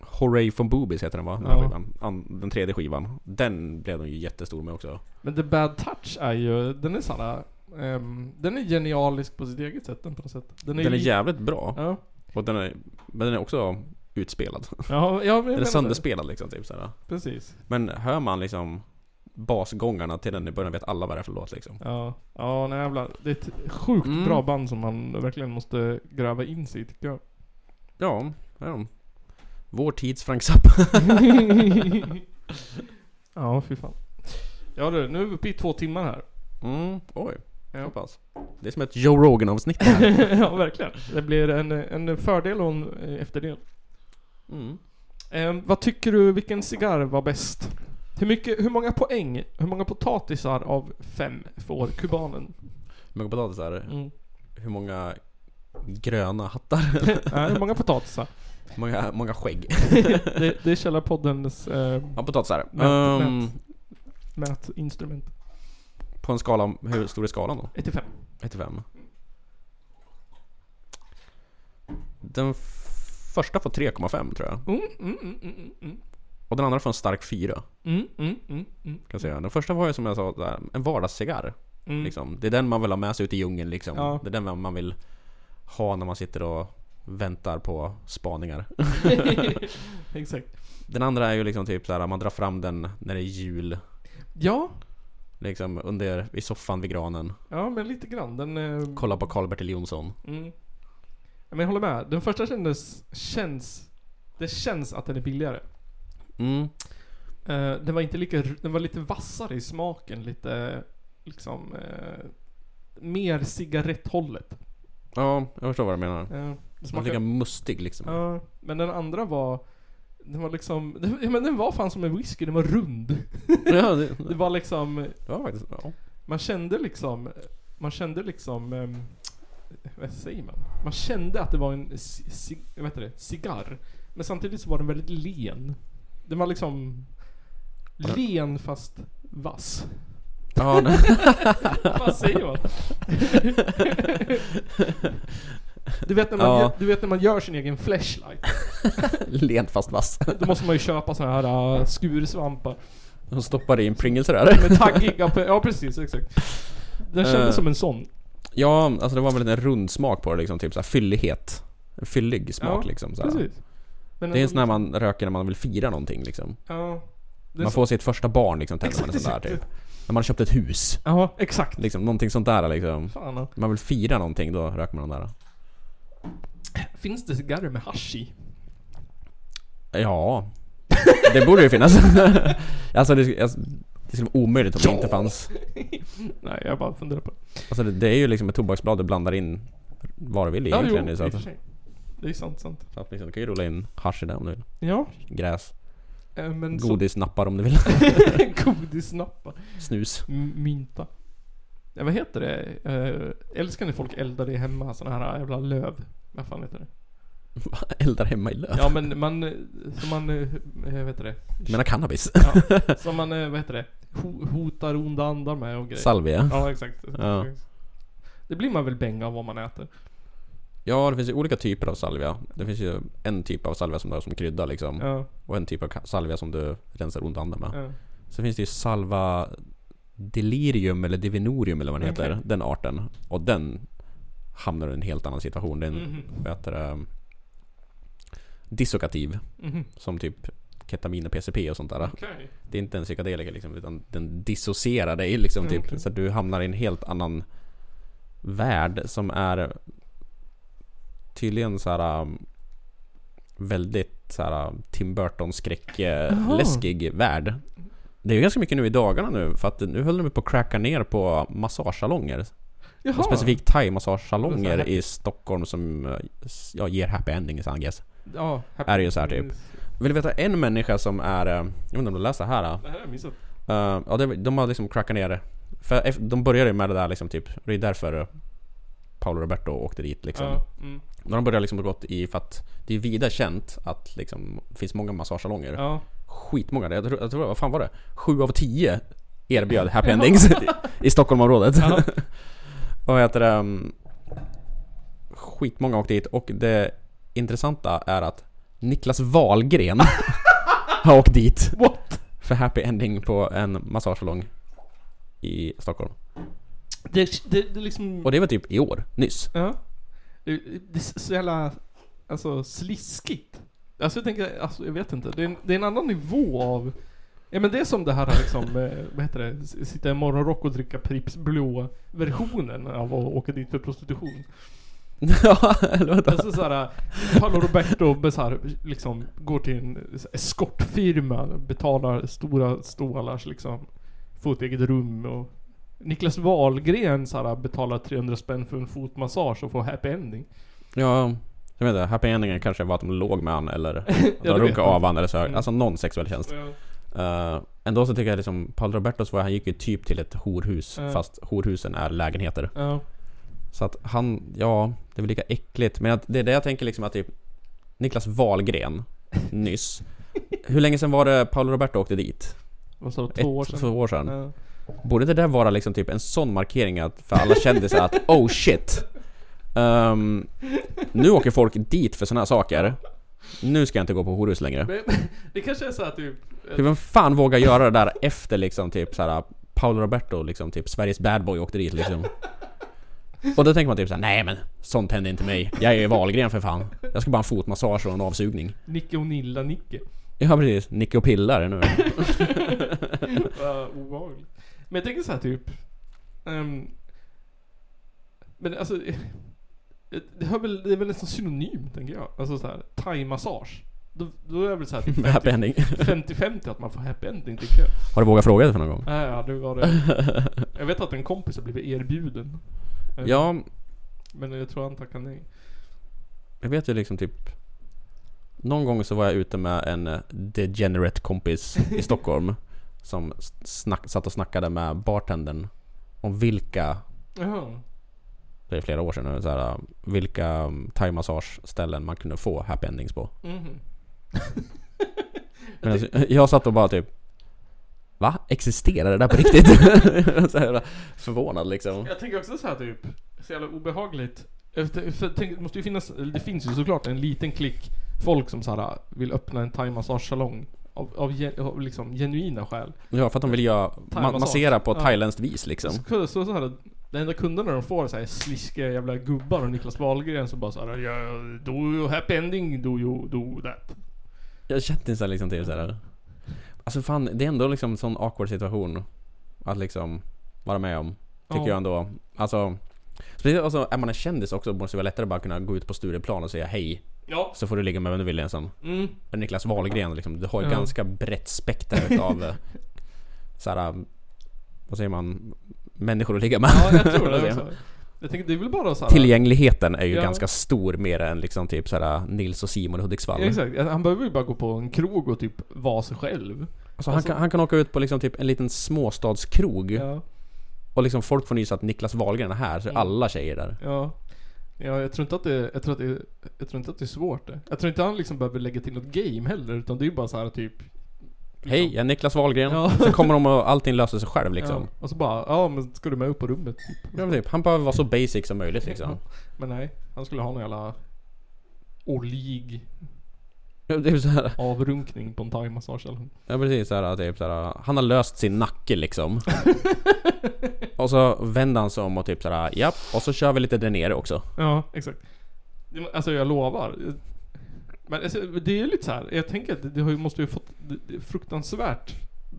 Speaker 1: Hooray from Boobies heter den va? Den, här
Speaker 2: Ja.
Speaker 1: skivan. An, den tredje skivan. Den blev de ju jättestor med också.
Speaker 2: Men The Bad Touch är ju, den är såhär, ehm, den är genialisk på sitt eget sätt den på något sätt. Den
Speaker 1: Den är
Speaker 2: li-
Speaker 1: jävligt bra.
Speaker 2: Ja,
Speaker 1: Och den är, men den är också utspelad.
Speaker 2: ja, ja men jag
Speaker 1: Den är
Speaker 2: menar det.
Speaker 1: sönderspelad liksom. Typ, såhär.
Speaker 2: Precis.
Speaker 1: Men hör man liksom basgångarna till den i början vet alla vad det är för låt liksom.
Speaker 2: Ja, ja nej jävlar. Det är ett sjukt
Speaker 1: Mm.
Speaker 2: bra band som man verkligen måste gräva in sig i tycker
Speaker 1: (laughs)
Speaker 2: jag.
Speaker 1: Ja, här är de. Vår tids Frank Zappa.
Speaker 2: ja, fy fan. Ja du, nu är vi uppe i två timmar
Speaker 1: (laughs)
Speaker 2: här.
Speaker 1: Mm, oj. Så
Speaker 2: Ja.
Speaker 1: pass. Det är som ett Joe Rogan-avsnitt det här.
Speaker 2: ja, verkligen. Det blir en, en fördel och en eh, efterdel.
Speaker 1: (laughs) Mm.
Speaker 2: Ehm, vad tycker du, vilken cigarr var bäst? Hur, mycket, hur många poäng, hur många potatisar av fem får kubanen?
Speaker 1: Hur många potatisar?
Speaker 2: Mm.
Speaker 1: Hur många gröna hattar?
Speaker 2: (laughs) Nej, hur många potatisar?
Speaker 1: många, många skägg?
Speaker 2: Det, det är Källarpoddens eh,
Speaker 1: Ja, potatisar.
Speaker 2: Nät,
Speaker 1: Ehm,
Speaker 2: nät. mätinstrument.
Speaker 1: På en skala, hur stor är skalan då?
Speaker 2: 1 till 5.
Speaker 1: 1 till 5. Den f- första får 3,5 tror jag.
Speaker 2: Mm, mm, mm, mm, mm,
Speaker 1: Och den andra får en stark 4. Kan
Speaker 2: mm, mm, mm, mm.
Speaker 1: jag säga. Den första var ju som jag sa, där, en vardagscigarr.
Speaker 2: Mm.
Speaker 1: Liksom. Det är den man vill ha med sig ut i djungeln liksom.
Speaker 2: Ja.
Speaker 1: Det är den man vill ha när man sitter och väntar på spaningar. (laughs)
Speaker 2: Exakt.
Speaker 1: Den andra är ju liksom typ såhär, man drar fram den när det är jul.
Speaker 2: Ja,
Speaker 1: Liksom under, i soffan vid granen.
Speaker 2: ja men lite grann. Den... Eh,
Speaker 1: Kolla på Karl-Bertil Jonsson.
Speaker 2: mm. Ja, Men jag håller med. Den första kändes... Känns... Det känns att den är billigare.
Speaker 1: Mm.
Speaker 2: Eh, den var inte lika, den var lite vassare i smaken, lite liksom eh, mer cigaretthållet.
Speaker 1: Ja, jag förstår vad du menar.
Speaker 2: Eh, det
Speaker 1: Man
Speaker 2: smakade,
Speaker 1: lika mustig liksom.
Speaker 2: Ja, men den andra var, den var liksom, (laughs) den, ja, men den var fan som en whisky, den var rund.
Speaker 1: (laughs) Ja, det,
Speaker 2: Det var liksom,
Speaker 1: det var faktiskt... Ja.
Speaker 2: man kände liksom, man kände liksom, ehm, vad säger man? Man kände att det var en ci- ci- vad heter det, cigarr. Men samtidigt så var den väldigt len. Den var liksom len fast vass.
Speaker 1: Ja, nej.
Speaker 2: Vad säger man? (laughs) Du vet, när man
Speaker 1: Ja.
Speaker 2: gör, du vet när man gör sin egen flashlight,
Speaker 1: (laughs) Lent fast vass.
Speaker 2: då måste man ju köpa såna här äh, skursvampar
Speaker 1: De stoppar i en Pringles där.
Speaker 2: med taggiga på, Ja precis, exakt. Den kändes
Speaker 1: Eh.
Speaker 2: som en sån.
Speaker 1: Ja, alltså det var väl en rund smak på det liksom. Typ såhär fyllighet. En fyllig smak
Speaker 2: Ja,
Speaker 1: liksom. Såhär.
Speaker 2: Precis. Men
Speaker 1: Det är en
Speaker 2: den-
Speaker 1: sån där man röker när man vill fira någonting liksom.
Speaker 2: Ja. Det är
Speaker 1: Man
Speaker 2: så-
Speaker 1: får sitt första barn liksom, tänder man en
Speaker 2: Exakt,
Speaker 1: sån där typ.
Speaker 2: exakt.
Speaker 1: När man har köpt ett hus.
Speaker 2: Ja, exakt.
Speaker 1: Liksom, någonting sånt där liksom.
Speaker 2: Fan. ja.
Speaker 1: Man vill fira någonting, då röker man den där.
Speaker 2: Finns det cigarrer med hasch i?
Speaker 1: Ja. Det borde ju finnas. (laughs) alltså det, sk- alltså, det skulle vara omöjligt om det inte fanns.
Speaker 2: Nej, jag bara funderar på det.
Speaker 1: Alltså det, det är ju liksom ett tobaksblad du blandar in vad du vill i
Speaker 2: Ja, jo,
Speaker 1: egentligen.
Speaker 2: i
Speaker 1: så
Speaker 2: och för
Speaker 1: att,
Speaker 2: sig. Det är sant, sant.
Speaker 1: så att liksom, du kan ju rulla in hasch i det om du vill.
Speaker 2: Ja,
Speaker 1: Gräs,
Speaker 2: eh, men så...
Speaker 1: godisnappar om du vill. (laughs)
Speaker 2: (laughs) Godisnappa.
Speaker 1: Snus. (laughs)
Speaker 2: M- Mynta. Ja, vad heter det? Eh, älskar när folk eldar det hemma? Såna här jävla löv. Vad fan heter det?
Speaker 1: Eldar hemma i löv.
Speaker 2: Ja men man, eh, som man, eh, eh, vad heter det?
Speaker 1: Du menar cannabis?
Speaker 2: Ja, som man, eh, vad heter det? Ho- hotar onda andar med och grejer.
Speaker 1: Salvia?
Speaker 2: Ja exakt.
Speaker 1: Ja.
Speaker 2: Det blir man väl bänga av vad man äter.
Speaker 1: Ja, det finns ju olika typer av salvia. Det finns ju en typ av salvia som du har som krydda liksom.
Speaker 2: Ja,
Speaker 1: Och en typ av ka- salvia som du rensar ont andan med.
Speaker 2: ja.
Speaker 1: Så finns det ju salva delirium eller divinorium eller vad den heter.
Speaker 2: Okej.
Speaker 1: Den arten. Och den hamnar i en helt annan situation. Det är en,
Speaker 2: Mhm.
Speaker 1: vad heter det? Dissokativ.
Speaker 2: Mhm.
Speaker 1: Som typ ketamin och PCP och sånt där.
Speaker 2: Okej.
Speaker 1: Det är inte en psykedelika liksom, utan den dissocierar dig liksom
Speaker 2: Mm,
Speaker 1: typ.
Speaker 2: okej.
Speaker 1: Så att du hamnar i en helt annan värld som är tydligen så här um, väldigt så här um, Tim Burton
Speaker 2: Jaha.
Speaker 1: skräckläskig värld. Det är ju ganska mycket nu i dagarna nu för att nu håller de på att cracka ner på massagesalonger.
Speaker 2: Jaha.
Speaker 1: Och specifikt
Speaker 2: Det är så
Speaker 1: thai-massagesalonger
Speaker 2: här-
Speaker 1: i Stockholm som uh, s- ja, ger happy endings I guess.
Speaker 2: Ja, happy
Speaker 1: Är det ju så här typ. Vill du veta en människa som är, uh, jag vet inte om du läste här? uh,
Speaker 2: Det här har jag missat.
Speaker 1: Eh, ja, det, de har liksom crackat ner det. För eff- de började ju med det där liksom typ. Det är därför Paolo Roberto åkte dit liksom.
Speaker 2: Ja, mm.
Speaker 1: När de började liksom gått i för att det är vida känt att liksom det finns många massagesalonger.
Speaker 2: ja.
Speaker 1: Skitmånga. Jag tror, jag tror, vad fan var det? Sju av tio erbjöd happy endings i- i Stockholmområdet.
Speaker 2: Ja.
Speaker 1: Och (laughs) vad heter det? ehm, Skitmånga åkte dit och det intressanta är att Niklas
Speaker 2: (laughs)
Speaker 1: Wahlgren har åkt dit
Speaker 2: What?
Speaker 1: för happy ending på en massagesalong i Stockholm.
Speaker 2: Det, det, det liksom...
Speaker 1: Och det var typ i år,
Speaker 2: (laughs)
Speaker 1: nyss.
Speaker 2: Ja. Det, det är så jävla, alltså sliskigt. Alltså jag tänker, alltså jag vet inte. Det är en, det är en annan nivå av... Ja men det är som det här liksom, eh, vad heter det? S- Sitta i morgonrock och dricka Pripps blå versionen av att åka dit för prostitution.
Speaker 1: Ja, eller vadå?
Speaker 2: Alltså såhär, Paolo Roberto med så här, liksom går till en eskortfirma, betalar stora stålars liksom, får ett eget rum och Niklas Wahlgren så här, betalar 300 spänn för en fotmassage och får happy ending.
Speaker 1: Ja, jag vet inte. Happy endingen kanske var att de låg med han eller att
Speaker 2: (laughs) Ja,
Speaker 1: de
Speaker 2: du vet.
Speaker 1: runkade av han eller så.
Speaker 2: Mm.
Speaker 1: Alltså någon sexuell tjänst. Eh, ändå så tycker jag liksom, Paolo Robertos var, han gick ju typ till ett horhus.
Speaker 2: Ja.
Speaker 1: Fast horhusen är lägenheter.
Speaker 2: Ja.
Speaker 1: Så att han, ja, det är väl lika äckligt. Men att, det är det jag tänker liksom att typ Niklas
Speaker 2: (laughs)
Speaker 1: Wahlgren, nyss. Hur länge sedan var det Paolo Roberto åkte dit?
Speaker 2: Vad sa du? Två år
Speaker 1: Ett, två
Speaker 2: sedan?
Speaker 1: år sedan.
Speaker 2: Ja.
Speaker 1: Borde det där vara liksom typ en sån markering att för alla kändisar att oh shit Ehm, Nu åker folk dit för såna här saker Nu ska jag inte gå på horhus längre
Speaker 2: Men, (laughs) det kanske är så att typ...
Speaker 1: Hur vem fan vågar göra det där efter liksom typ såhär Paolo Roberto liksom typ Sveriges bad boy åkte dit liksom Och då tänker man typ såhär nej men sånt händer inte mig Jag är ju Wahlgren för fan Jag ska bara ha en fotmassage och en avsugning
Speaker 2: Nicke och Nilla-Nicke.
Speaker 1: Ja precis, Nicke och pillar är nu
Speaker 2: Vad obehagligt. Men jag tänker så här typ... ehm, men alltså... eh, Det, hör väl, det är väl nästan synonym, tänker jag. Alltså så här, thai-massage. Då, då är det väl så här
Speaker 1: (laughs)
Speaker 2: typ
Speaker 1: Happy
Speaker 2: 50
Speaker 1: ending
Speaker 2: 50-50 att man får happy ending,
Speaker 1: (laughs)
Speaker 2: tycker jag.
Speaker 1: Har du vågat fråga det för någon gång?
Speaker 2: Ja, ja, det var det. Jag vet att en kompis har blivit erbjuden. Eh,
Speaker 1: Ja,
Speaker 2: Men jag tror han tackade nej.
Speaker 1: Jag vet ju liksom typ Någon gång så var jag ute med en eh, degenerate kompis i Stockholm Som s- snack, satt och snackade med bartendern Om vilka,
Speaker 2: Jaha.
Speaker 1: det är flera år sedan nu, så här, eh, vilka mm, thai-massage-ställen man kunde få happy endings på
Speaker 2: Mhm.
Speaker 1: Men alltså, jag satt och bara typ Va? Existerar det där på riktigt? (laughs) så här, förvånad liksom
Speaker 2: Jag tänker också så här typ, så jävla obehagligt. Efter, för, tänk, det måste ju finnas, eller det finns ju såklart en liten klick folk som så här vill öppna en thaimassagesalong. Av, av, gen- av liksom genuina skäl.
Speaker 1: Ja, för att de vill göra, ma-
Speaker 2: Thai-massage.
Speaker 1: massera på
Speaker 2: Ja. Mm.
Speaker 1: thailändskt vis liksom
Speaker 2: Så, så, så här, de enda kunderna de får är så här sliskiga jävla gubbar och Niklas Wahlgren som bara såhär ja, do you happy ending, do you do that.
Speaker 1: Jag kändisar liksom till såhär Alltså fan, det är ändå liksom sån awkward situation Att liksom vara med om Tycker
Speaker 2: Ja.
Speaker 1: jag ändå Alltså Speciellt alltså, är man en kändis också måste det vara lättare att bara kunna gå ut på Stureplan och säga hej.
Speaker 2: Ja.
Speaker 1: Så får du ligga med vem du vill ensam.
Speaker 2: Mm.
Speaker 1: Men Niklas Wahlgren liksom, du har ju
Speaker 2: Ja.
Speaker 1: ganska brett spektra utav eh, såhär, vad säger man, människor att ligga med.
Speaker 2: Ja, jag
Speaker 1: (laughs)
Speaker 2: tror
Speaker 1: Vad
Speaker 2: det.
Speaker 1: säger
Speaker 2: Också.
Speaker 1: man?
Speaker 2: Jag tänker, det är väl bara så här-
Speaker 1: Tillgängligheten är ju
Speaker 2: Ja.
Speaker 1: ganska stor mer än liksom typ såhär Nils och Simon i Hudiksvall.
Speaker 2: Ja, exakt. Han behöver ju bara gå på en krog och typ vara sig själv.
Speaker 1: Alltså, han,
Speaker 2: Alltså-
Speaker 1: kan, han kan åka ut på liksom typ en liten småstadskrog
Speaker 2: Ja.
Speaker 1: och liksom folk får nys att Niklas Wahlgren är här, så är
Speaker 2: Mm.
Speaker 1: alla tjejer där.
Speaker 2: Ja. Ja, jag tror inte att det, jag tror att det, jag tror inte att det är svårt det. Jag tror inte han liksom behöver lägga till något game heller, utan det är ju bara så här typ...
Speaker 1: Hej, jag är Niklas Wahlgren.
Speaker 2: Ja.
Speaker 1: Sen kommer de och allting löser sig själv liksom.
Speaker 2: Ja. Och så bara, ja men ska du med upp på rummet? Typ.
Speaker 1: Ja, men typ. Han behöver vara så basic som möjligt liksom.
Speaker 2: Men nej, han skulle ha någon jävla oljig
Speaker 1: Ja, det är så här,
Speaker 2: avrunkning på en thaimassage eller något.
Speaker 1: ja precis, så här, typ, så här, han har löst sin nacke
Speaker 2: (laughs)
Speaker 1: liksom. och så vänder han sig om och typ så här, japp, och så kör vi lite där nere också.
Speaker 2: Ja, exakt. Det var- Alltså jag lovar. Men alltså, det är ju lite så här. jag tänker att det- det har ju, måste ju fått det- det fruktansvärt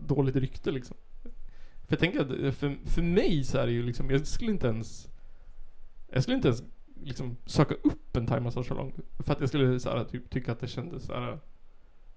Speaker 2: dåligt rykte liksom. För jag tänker att det- för, för mig så är det ju liksom, jag skulle inte ens... Jag skulle inte ens liksom söka upp en thaimassagesalong. För att jag skulle så här, typ tycka att det kändes så här.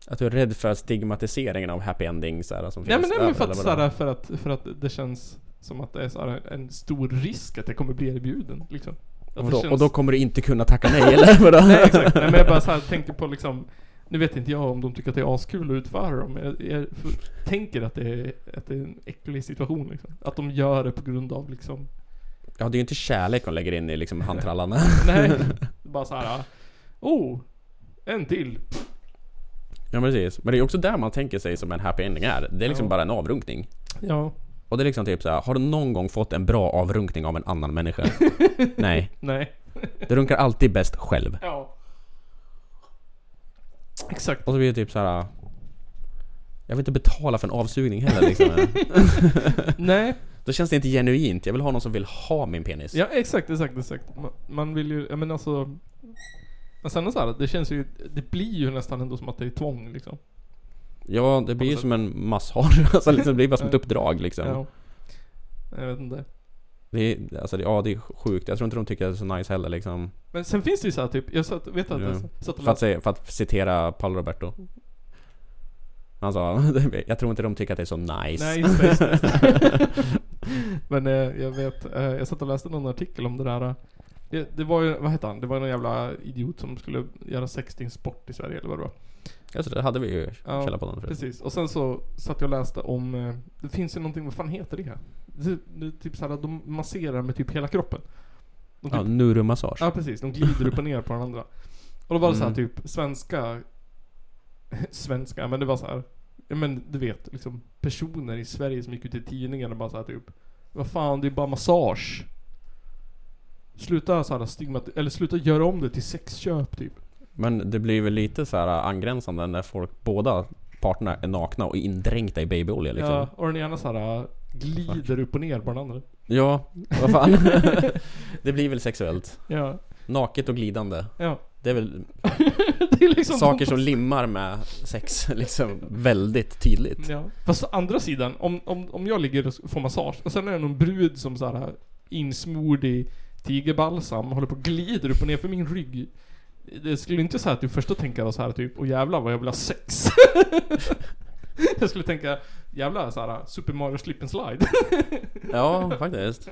Speaker 1: Att du är rädd för stigmatiseringen av happy ending så här, som
Speaker 2: Nej men,
Speaker 1: finns.
Speaker 2: nej, men för, att,
Speaker 1: överallt,
Speaker 2: så
Speaker 1: eller vadå?
Speaker 2: här, för, att, för att det känns som att det är så här, en stor risk att jag kommer bli erbjuden liksom. Att det
Speaker 1: och, då,
Speaker 2: känns-
Speaker 1: och då kommer du inte kunna tacka nej eller? (laughs) Vadå?
Speaker 2: Nej (laughs) exakt, Nej, men jag bara så här, tänkte på liksom Nu vet inte jag om de tycker att det är askul att utföra dem Jag, jag f- tänker att det, är, att det är en äcklig situation liksom. Att de gör det på grund av (laughs) liksom
Speaker 1: Ja, det är ju inte kärlek hon lägger in i liksom
Speaker 2: (laughs)
Speaker 1: handtrallarna.
Speaker 2: Nej, bara så här. Oh, en till
Speaker 1: ja precis. Men det är också där man tänker sig som en happy ending är. Det är liksom
Speaker 2: Ja.
Speaker 1: bara en avrunkning.
Speaker 2: Ja,
Speaker 1: Och det är liksom typ så här, har du någon gång fått en bra avrunkning av en annan
Speaker 2: (laughs)
Speaker 1: människa? Nej.
Speaker 2: nej,
Speaker 1: Du runkar alltid bäst själv.
Speaker 2: ja Exakt
Speaker 1: Och så blir det typ så här. Jag vill inte betala för en avsugning heller liksom.
Speaker 2: (laughs) Nej,
Speaker 1: Då känns det inte genuint. Jag vill ha någon som vill ha min penis.
Speaker 2: ja exakt, exakt, exakt Man, man vill ju, ja men alltså men sen är det så här, det känns ju, det blir ju nästan ändå som att det är tvång liksom.
Speaker 1: Ja, det blir ju
Speaker 2: På något
Speaker 1: som en massage. (laughs) Alltså liksom, det blir bara som ett
Speaker 2: Ja.
Speaker 1: uppdrag liksom.
Speaker 2: Ja. Jag vet inte.
Speaker 1: Det är, alltså, det, ja, det är sjukt. Jag tror inte de tycker att det är så nice heller liksom.
Speaker 2: Men sen finns det ju så här typ, jag satt, vet att jag satt och
Speaker 1: För att,
Speaker 2: läste,
Speaker 1: säga, för att citera Paolo Roberto. Han sa, (laughs) jag tror inte de tycker att det är så nice.
Speaker 2: nej just det, just det, just det. (laughs) Men eh, jag vet, eh, jag satt och läste någon artikel om det där. eh. Det, det var ju, vad hette han? Det var någon jävla idiot som skulle göra sex till en sport i Sverige eller vad det var.
Speaker 1: Just Alltså, det, det hade vi ju
Speaker 2: Ja,
Speaker 1: Källarpodden förut.
Speaker 2: Precis, och sen så satt jag och läste om, eh, det finns ju någonting, vad fan heter det? det, det typ såhär, de masserar med typ hela kroppen. De typ
Speaker 1: Ja, Nurumassage.
Speaker 2: Ja precis, de glider upp och ner på varandra. Och då var det så här
Speaker 1: Mm.
Speaker 2: typ svenska, (laughs) svenska, men det var så här. Ja men du vet, liksom personer i Sverige som gick ut i tidningarna bara så här typ. Vad fan, det är bara massage. Sluta så här stigmat, eller sluta göra om det till sexköp typ.
Speaker 1: Men det blir väl lite så här angränsande när folk, båda parterna är nakna och indränkta i babyolja liksom.
Speaker 2: Ja,
Speaker 1: Ja,
Speaker 2: och den ena så här glider upp och ner på den andra.
Speaker 1: vad fan. (laughs) det blir väl sexuellt.
Speaker 2: Ja,
Speaker 1: Naket och glidande.
Speaker 2: ja. (laughs)
Speaker 1: Det är väl
Speaker 2: Det är liksom
Speaker 1: saker som limmar med sex liksom väldigt tydligt.
Speaker 2: Ja. Fast å andra sidan, om, om, om jag ligger och får massage och sen är det någon brud som så här insmord i tigerbalsam och håller på och glider upp och ner för min rygg. Det skulle inte säga att du första tänker så här typ åh jävlar vad jag vill ha sex. (laughs) jag skulle tänka jävlar så här Super Mario Slip and Slide. (laughs)
Speaker 1: Ja, faktiskt.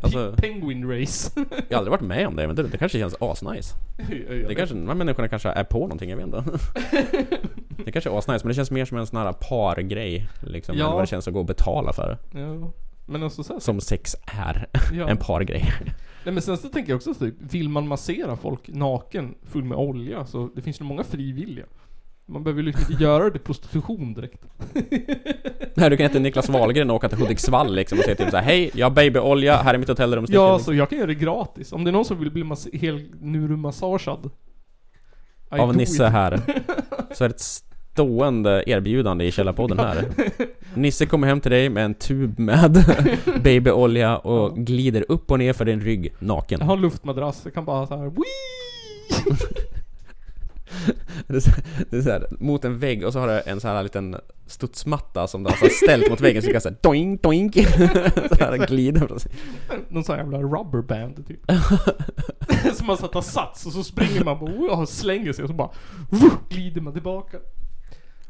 Speaker 1: Alltså,
Speaker 2: Penguin Race. (laughs)
Speaker 1: jag har aldrig varit med om det, men det, det kanske känns asnice. Det kanske, de här människorna kanske är på någonting, jag vet
Speaker 2: (laughs)
Speaker 1: inte. Det kanske är asnice, men det känns mer som en sån här pargrej. Liksom,
Speaker 2: Ja.
Speaker 1: än vad det känns att gå och betala för.
Speaker 2: ja. Men alltså så här,
Speaker 1: Som sex är.
Speaker 2: ja.
Speaker 1: En pargrej. (laughs)
Speaker 2: Nej men sen så tänker jag också typ, vill man massera folk naken full med olja så det finns ju många frivilliga. Man behöver ju liksom inte göra det till prostitution direkt.
Speaker 1: Nej du kan inte Niklas Wahlgren och åka till Hudiksvall liksom och säga typ såhär Hej, jag har babyolja, här är mitt hotellrum, stick
Speaker 2: Ja,
Speaker 1: in."
Speaker 2: så jag kan göra det gratis. Om det är någon som vill bli mas- helnurumassagead. I do
Speaker 1: Av Nisse
Speaker 2: it.
Speaker 1: här Så är det ett stående erbjudande i Källarpodden här Nisse kommer hem till dig med en tub med babyolja och glider upp och ner för din rygg naken
Speaker 2: (laughs) Jag har en luftmadrass, jag kan bara så här, Wii!
Speaker 1: Det är, så, det är så här, mot en vägg och så har det en sån här liten studsmatta som du har så här ställt mot väggen så du kan såhär doink doink (laughs) så här glida från sig.
Speaker 2: Någon sån här jävla rubberband (laughs) typ. som man sätter sats och så springer man bara, och slänger sig och så bara vuh, glider man tillbaka.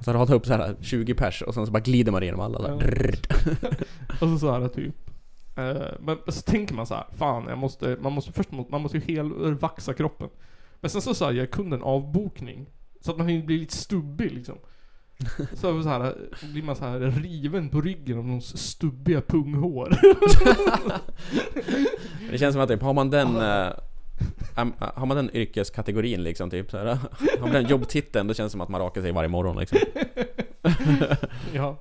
Speaker 1: Så har du hållit upp så här 20 pers och sen så bara glider man igenom alla så här.
Speaker 2: Ja.
Speaker 1: Drrrr.
Speaker 2: (laughs) Och så, så här typ. eh, Men så tänker man så här, fan jag måste, man måste först må- man måste ju helvaxa kroppen. Men sen så, så här, gör kunden avbokning. Så att man hinner bli lite stubbig liksom. Så, så här, blir man så här riven på ryggen av någons stubbiga punghår. (laughs)
Speaker 1: Det känns som att typ, har man den eh, am- Har man den yrkeskategorin liksom typ så här, Har man den jobbtiteln då känns det som att man rakar sig varje morgon liksom.
Speaker 2: ja,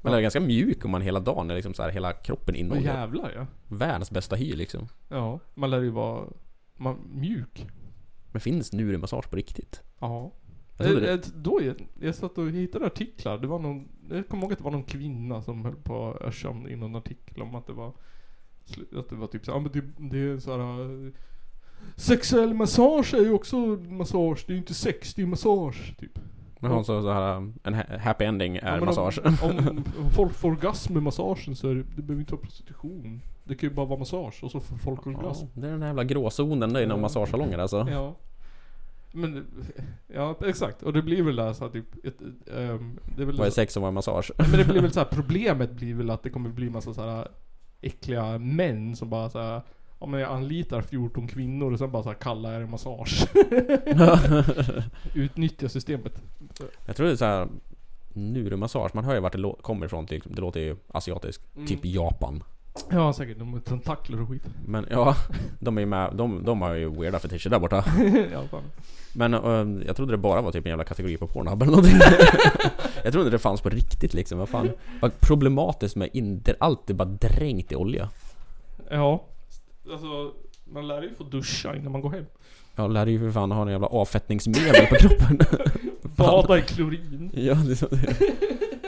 Speaker 1: Man är ganska mjuk om man hela dagen är liksom så här, hela kroppen
Speaker 2: vad
Speaker 1: inåld.
Speaker 2: jävlar ja.
Speaker 1: Världens bästa hy liksom.
Speaker 2: Ja, man lär ju vara man, mjuk.
Speaker 1: Men finns nurenmassage på riktigt?
Speaker 2: Ja.
Speaker 1: Jag trodde det-
Speaker 2: Eh, eh, Då, jag, jag satt och hittade artiklar. Det var någon, jag kommer ihåg att det var någon kvinna som höll på att ösa om det i någon artikel om att det var sl- Att det var typ såhär, ja men det, det är såhär eh, Sexuell massage är ju också massage, det är ju inte sex, det är massage typ.
Speaker 1: Men hon sa så här, um, en ha- happy ending
Speaker 2: Ja,
Speaker 1: är
Speaker 2: men
Speaker 1: massage.
Speaker 2: Om, om,
Speaker 1: (laughs)
Speaker 2: om folk får orgasm med massagen så är det, det behöver inte vara prostitution. Det kan ju bara vara massage och så får
Speaker 1: (laughs)
Speaker 2: folk orgasm.
Speaker 1: Ja, det är den här jävla gråzonen där inom
Speaker 2: Ja.
Speaker 1: massagesalonger alltså.
Speaker 2: Ja. Men, ja exakt. Och det blir väl där så här, typ, ett, ett, ehm, det är väl
Speaker 1: Vad är sex och vad är massage? (laughs)
Speaker 2: Nej, men det blir väl så här, problemet blir väl att det kommer bli massa så här äckliga män som bara så här, ja men jag anlitar 14 kvinnor och sen bara så här kallar jag det massage. Utnyttja systemet.
Speaker 1: Jag tror det är så här nurenmassage, man hör ju vart det lå- kommer ifrån. Liksom. Det låter ju asiatiskt.
Speaker 2: Mm.
Speaker 1: Typ Japan.
Speaker 2: Ja säkert, de har tentakler och skit.
Speaker 1: Men ja, (laughs) de är ju med, de, de har ju weirda fetischer där borta.
Speaker 2: ja, fan.
Speaker 1: Men eh, jag trodde det bara var typ en jävla kategori på Pornhub eller någonting. (laughs) jag trodde det fanns på riktigt liksom, vad fan. Vad problematiskt med inter, allt är bara dränkt i olja.
Speaker 2: ja. Alltså, man lär ju få duscha innan man går hem.
Speaker 1: Jag lär ju för fan ha en jävla avfettningsmedel på kroppen.
Speaker 2: Bada i klorin.
Speaker 1: (laughs) ja, det är så det är.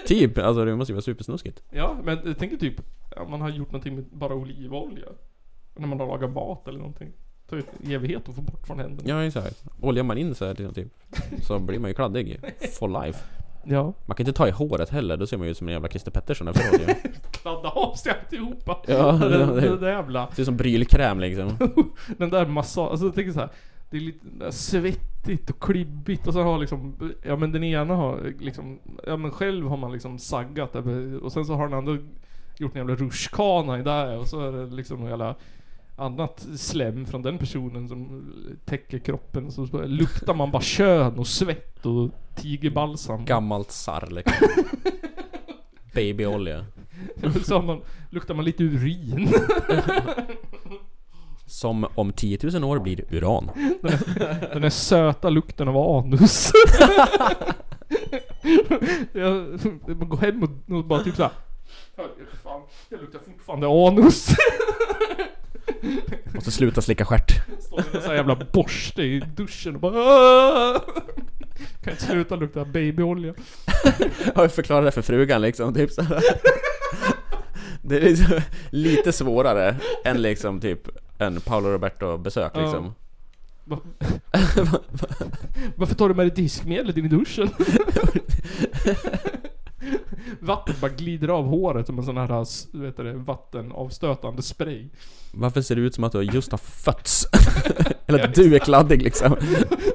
Speaker 1: Typ, alltså det måste ju vara supersnuskigt.
Speaker 2: Ja, men jag tänker typ om man har gjort någonting med bara olivolja. När man har lagat mat eller någonting. Det tar ju en evighet att få bort från händerna.
Speaker 1: Ja, exakt. Oljar man in så här liksom, typ, så blir man ju kladdig. For life.
Speaker 2: Ja.
Speaker 1: Man kan inte ta i håret heller, då ser man ju ut som en jävla Christer Pettersson efteråt ju.
Speaker 2: Kladda (laughs) av sig alltihopa.
Speaker 1: Ja,
Speaker 2: den,
Speaker 1: ja,
Speaker 2: den,
Speaker 1: det-
Speaker 2: där jävla...
Speaker 1: Ser ut som brylkräm liksom.
Speaker 2: Den där massagen. Alltså jag tänker så här. Det är lite där svettigt och klibbigt och så har liksom... Ja men den ena har liksom... Ja men själv har man liksom saggat där, och sen så har den andra gjort en jävla rutschkana i där och så är det liksom någon jävla annat slem från den personen som täcker kroppen. Så så luktar man bara kön och svett och tigerbalsam.
Speaker 1: Gammalt sarr (laughs) liksom. Babyolja.
Speaker 2: (laughs) så har man, luktar man lite urin.
Speaker 1: Som om 10 000 år blir uran.
Speaker 2: Den där söta lukten av (laughs) anus. jag, man går hem och, och bara typ såhär. Fan, det luktar fortfarande anus.
Speaker 1: Måste sluta slicka stjärt.
Speaker 2: (laughs) Står med en sån här jävla borste i duschen och bara "Aah!" Kan inte sluta lukta babyolja.
Speaker 1: Har jag förklarat det för frugan liksom, typ så här. Det är liksom lite svårare än liksom typ en Paolo Roberto-besök
Speaker 2: Ja.
Speaker 1: liksom.
Speaker 2: Va- Varför tar du med dig diskmedlet in i (laughs) duschen? Vattnet bara glider av håret som en sån här vad heter det, vattenavstötande spray.
Speaker 1: Varför ser det ut som att du just har (laughs) fötts? Eller att du är kladdig liksom.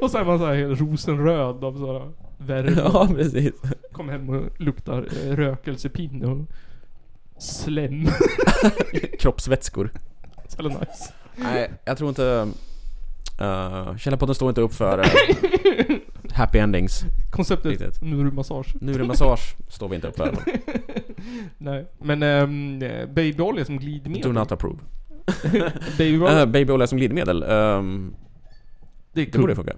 Speaker 2: Och så är man såhär helt rosenröd av såhär värme.
Speaker 1: Ja, precis.
Speaker 2: Kom hem och luktar eh, rökelsepinne och slem. (laughs)
Speaker 1: Kroppsvätskor.
Speaker 2: Så jävla nice.
Speaker 1: Nej, jag tror inte... Uh, Källarpodden står inte upp för eh, happy endings. Riktigt.
Speaker 2: Konceptet nurmassage.
Speaker 1: Nu är det massage, står vi inte upp (laughs) för.
Speaker 2: (laughs) Nej. Men ehm, babyolja som
Speaker 1: Do
Speaker 2: glidmedel.
Speaker 1: not approve.
Speaker 2: Babyolja,
Speaker 1: Uh, Babyolja som glidmedel. ehm,
Speaker 2: det är
Speaker 1: det borde
Speaker 2: kul.
Speaker 1: funka.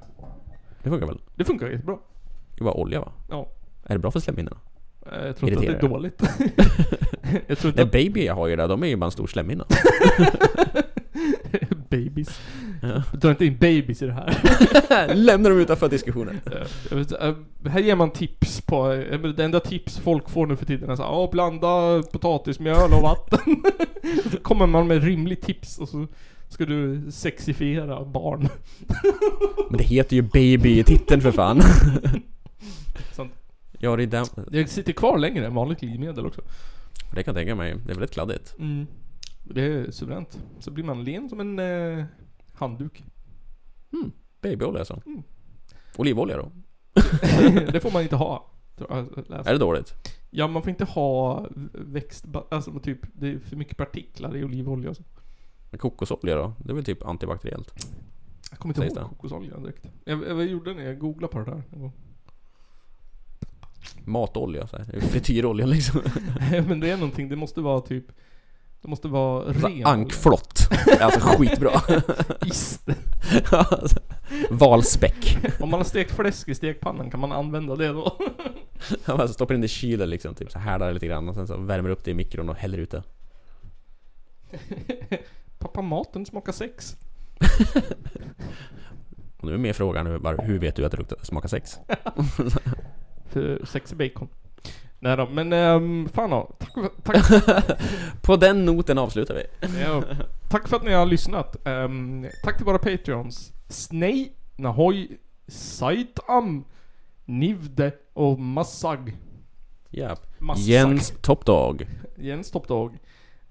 Speaker 1: Det funkar väl?
Speaker 2: Det funkar jättebra.
Speaker 1: Det var olja va?
Speaker 2: Ja.
Speaker 1: Är det bra för slemhinnorna?
Speaker 2: Eh, Jag tror inte att det
Speaker 1: Irriterar. (laughs)
Speaker 2: är dåligt. (laughs) jag tror inte
Speaker 1: Nej,
Speaker 2: att (laughs)
Speaker 1: baby jag har ju där, de är ju bara en stor (laughs) slemhinna.
Speaker 2: babies.
Speaker 1: Ja.
Speaker 2: Dra inte in babies i det här.
Speaker 1: Lämnar dem utanför diskussionen.
Speaker 2: Eh, jag vet, eh, här ger man tips på... eh, men Det enda tips folk får nu för tiden är såhär, ja (laughs) blanda potatismjöl och vatten. så kommer man med rimligt tips och så Ska du sexifiera barn?
Speaker 1: Men det heter ju baby i titeln för (laughs) fan.
Speaker 2: Sant.
Speaker 1: Ja, det är den...
Speaker 2: Det sitter kvar längre än vanligt livmedel också.
Speaker 1: Det kan jag tänka mig. Det är väldigt kladdigt.
Speaker 2: Mm. Det är suveränt. Så blir man len som en eh, (laughs) handduk.
Speaker 1: Babyolja alltså.
Speaker 2: Mm.
Speaker 1: Olivolja då?
Speaker 2: det får man inte ha. tror jag jag läste.
Speaker 1: Är det dåligt?
Speaker 2: Ja, man får inte ha växt... Alltså typ, det är för mycket partiklar i olivolja och så.
Speaker 1: Men Kokosolja då? Det är väl typ antibakteriellt?
Speaker 2: Jag kommer
Speaker 1: Sägs
Speaker 2: inte ihåg
Speaker 1: det.
Speaker 2: kokosolja direkt. Jag, jag, vad gjorde när jag googlade på det där en gång.
Speaker 1: Matolja så här. Det är ju Frityrolja liksom.
Speaker 2: (laughs) Men det är någonting, det måste vara typ... Det måste vara
Speaker 1: Så
Speaker 2: ren
Speaker 1: här, Alltså, Ankflott. Det är Alltså (laughs) skitbra.
Speaker 2: olja. Is.
Speaker 1: (laughs) Alltså, Valspäck.
Speaker 2: Om man har stekt fläsk i stekpannan, kan man använda det då?
Speaker 1: (laughs) Man stoppar in det i kylen liksom, typ så härdar det lite grann och sen så värmer upp det i mikron och häller ut det.
Speaker 2: Pappa, maten smakar sex.
Speaker 1: Och nu är mer frågan hur, bara, hur vet du att det luktar, smakar
Speaker 2: (laughs)
Speaker 1: sex?
Speaker 2: För sex är bacon. Nej då, men um, fan då. Tack, för- tack,
Speaker 1: På den noten avslutar vi.
Speaker 2: ja, tack för att ni har lyssnat. Ehm, tack till våra patreons. Snej, Nahoj, Saitam, Nivde och Massag.
Speaker 1: Japp.
Speaker 2: Massag.
Speaker 1: Jens Toppdag.
Speaker 2: Jens Toppdag.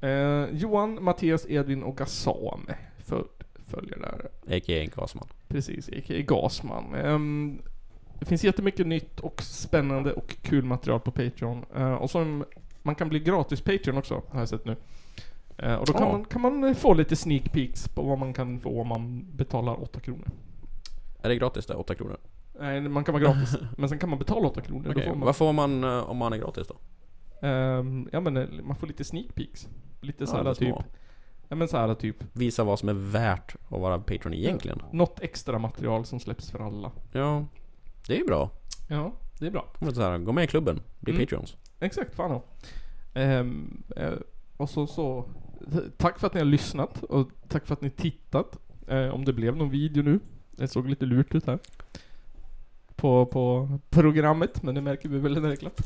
Speaker 2: Eh, Johan, Mattias, Edvin och Gassam. För, följer där.
Speaker 1: A.k.a. Gasman.
Speaker 2: Precis, a.k.a. Gasman. Ehm, det finns jättemycket nytt och spännande och kul material på Patreon. Eh, och som man kan bli gratis Patreon också, har jag sett nu. Eh, och då kan,
Speaker 1: Ja.
Speaker 2: man, kan man eh, få lite sneak peeks på vad man kan få om man betalar 8 kronor.
Speaker 1: Är det gratis det? 8 kronor?
Speaker 2: Nej, man kan
Speaker 1: (laughs)
Speaker 2: vara gratis. men sen kan man betala 8 kronor.
Speaker 1: Okej,
Speaker 2: Då får man,
Speaker 1: Vad får man eh, om man är gratis då?
Speaker 2: ehm, ja, men eh, man får lite sneak peeks. Lite så här
Speaker 1: Alla
Speaker 2: typ.
Speaker 1: små.
Speaker 2: Ja, men så här typ.
Speaker 1: Visa vad som är värt att vara Patreon egentligen.
Speaker 2: Något extra material som släpps för alla.
Speaker 1: Ja. Det är ju bra.
Speaker 2: Ja, det är bra.
Speaker 1: Kommer så här, gå med i klubben. Bli
Speaker 2: Mm.
Speaker 1: Patreons.
Speaker 2: Exakt, fan ja. Ehm, eh, Och så, så, tack för att ni har lyssnat och tack för att ni tittat. Eh, om det blev någon video nu. Det såg lite lurt ut här. På, på programmet, men det märker vi väl när det är (laughs) klart.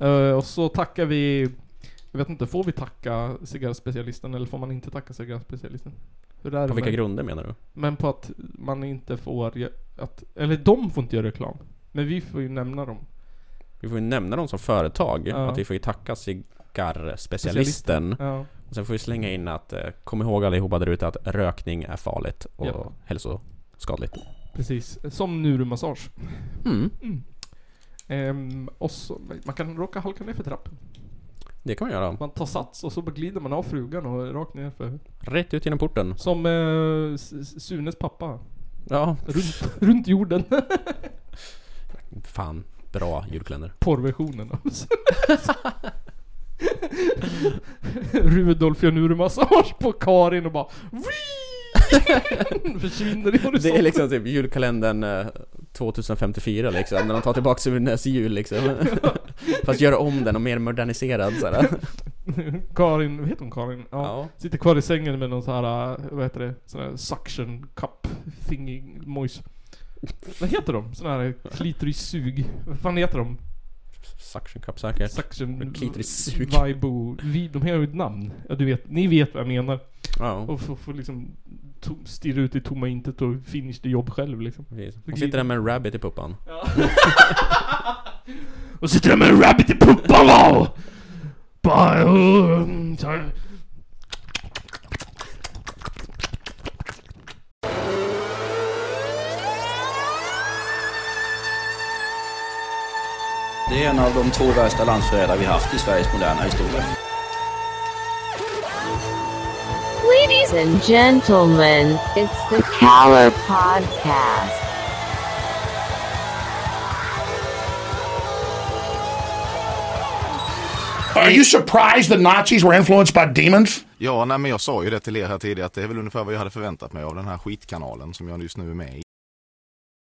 Speaker 2: Eh, och så tackar vi, jag vet inte, får vi tacka cigarrspecialisten eller får man inte tacka cigarrspecialisten? Hur är det
Speaker 1: På vilka
Speaker 2: med-
Speaker 1: grunder menar du?
Speaker 2: men på att man inte får, gö- att, eller de får inte göra reklam. Men vi får ju nämna dem.
Speaker 1: Vi får ju nämna dem som företag.
Speaker 2: Ja.
Speaker 1: Att vi får ju tacka cigarrspecialisten.
Speaker 2: Ja,
Speaker 1: Och sen får vi slänga in att eh, kom ihåg allihopa där ute att rökning är farligt och
Speaker 2: Ja.
Speaker 1: hälsoskadligt.
Speaker 2: precis. Som Nurumassage.
Speaker 1: Mm,
Speaker 2: Ehm, och så, man kan råka halka ner för trappen.
Speaker 1: det kan man göra.
Speaker 2: Man tar sats och så bara glider man av frugan och rakt ner för...
Speaker 1: Rätt ut genom porten.
Speaker 2: Som eh, S- S- Sunes pappa.
Speaker 1: Ja,
Speaker 2: Runt, runt jorden. (laughs)
Speaker 1: fan. Bra julkalender.
Speaker 2: Porrversionen av (laughs) Rudolf gör Nurumassage på Karin och bara... (laughs) "Wii!" (laughs) Försvinner i horisonten.
Speaker 1: Det är liksom typ julkalendern eh, 2054 liksom, när de tar tillbaka Sunes jul (laughs) liksom. Fast göra om den och mer moderniserad såhär.
Speaker 2: Karin, vad heter hon Karin? Ja.
Speaker 1: Ja.
Speaker 2: Sitter kvar i sängen med någon så här, äh, vad heter det? Sån här suction cup thingy mojs. Vad heter de? Sån här klitorissug. Vad fan heter de?
Speaker 1: Suction cup säkert.
Speaker 2: Suction...
Speaker 1: Klitorissug.
Speaker 2: Vibo. Vi, de har ju ett namn. Ja, du vet. Ni vet vad jag menar.
Speaker 1: Ja.
Speaker 2: Och får, får liksom to, stirra ut i tomma intet och finish the jobb själv liksom.
Speaker 1: precis. Hon sitter där med en rabbit i puppan.
Speaker 2: Och sitter där med en rabbit i puppan va! Bara... uh, så här.
Speaker 6: Det är en av de två värsta landsförrädare vi haft i Sveriges moderna historia.
Speaker 7: Ladies and gentlemen, it's the Caller Podcast.
Speaker 8: Are you surprised the Nazis were influenced by demons?
Speaker 9: Ja, nej, men jag sa ju det till er här tidigare att det är väl ungefär vad jag hade förväntat mig av den här skitkanalen som jag just nu är med i.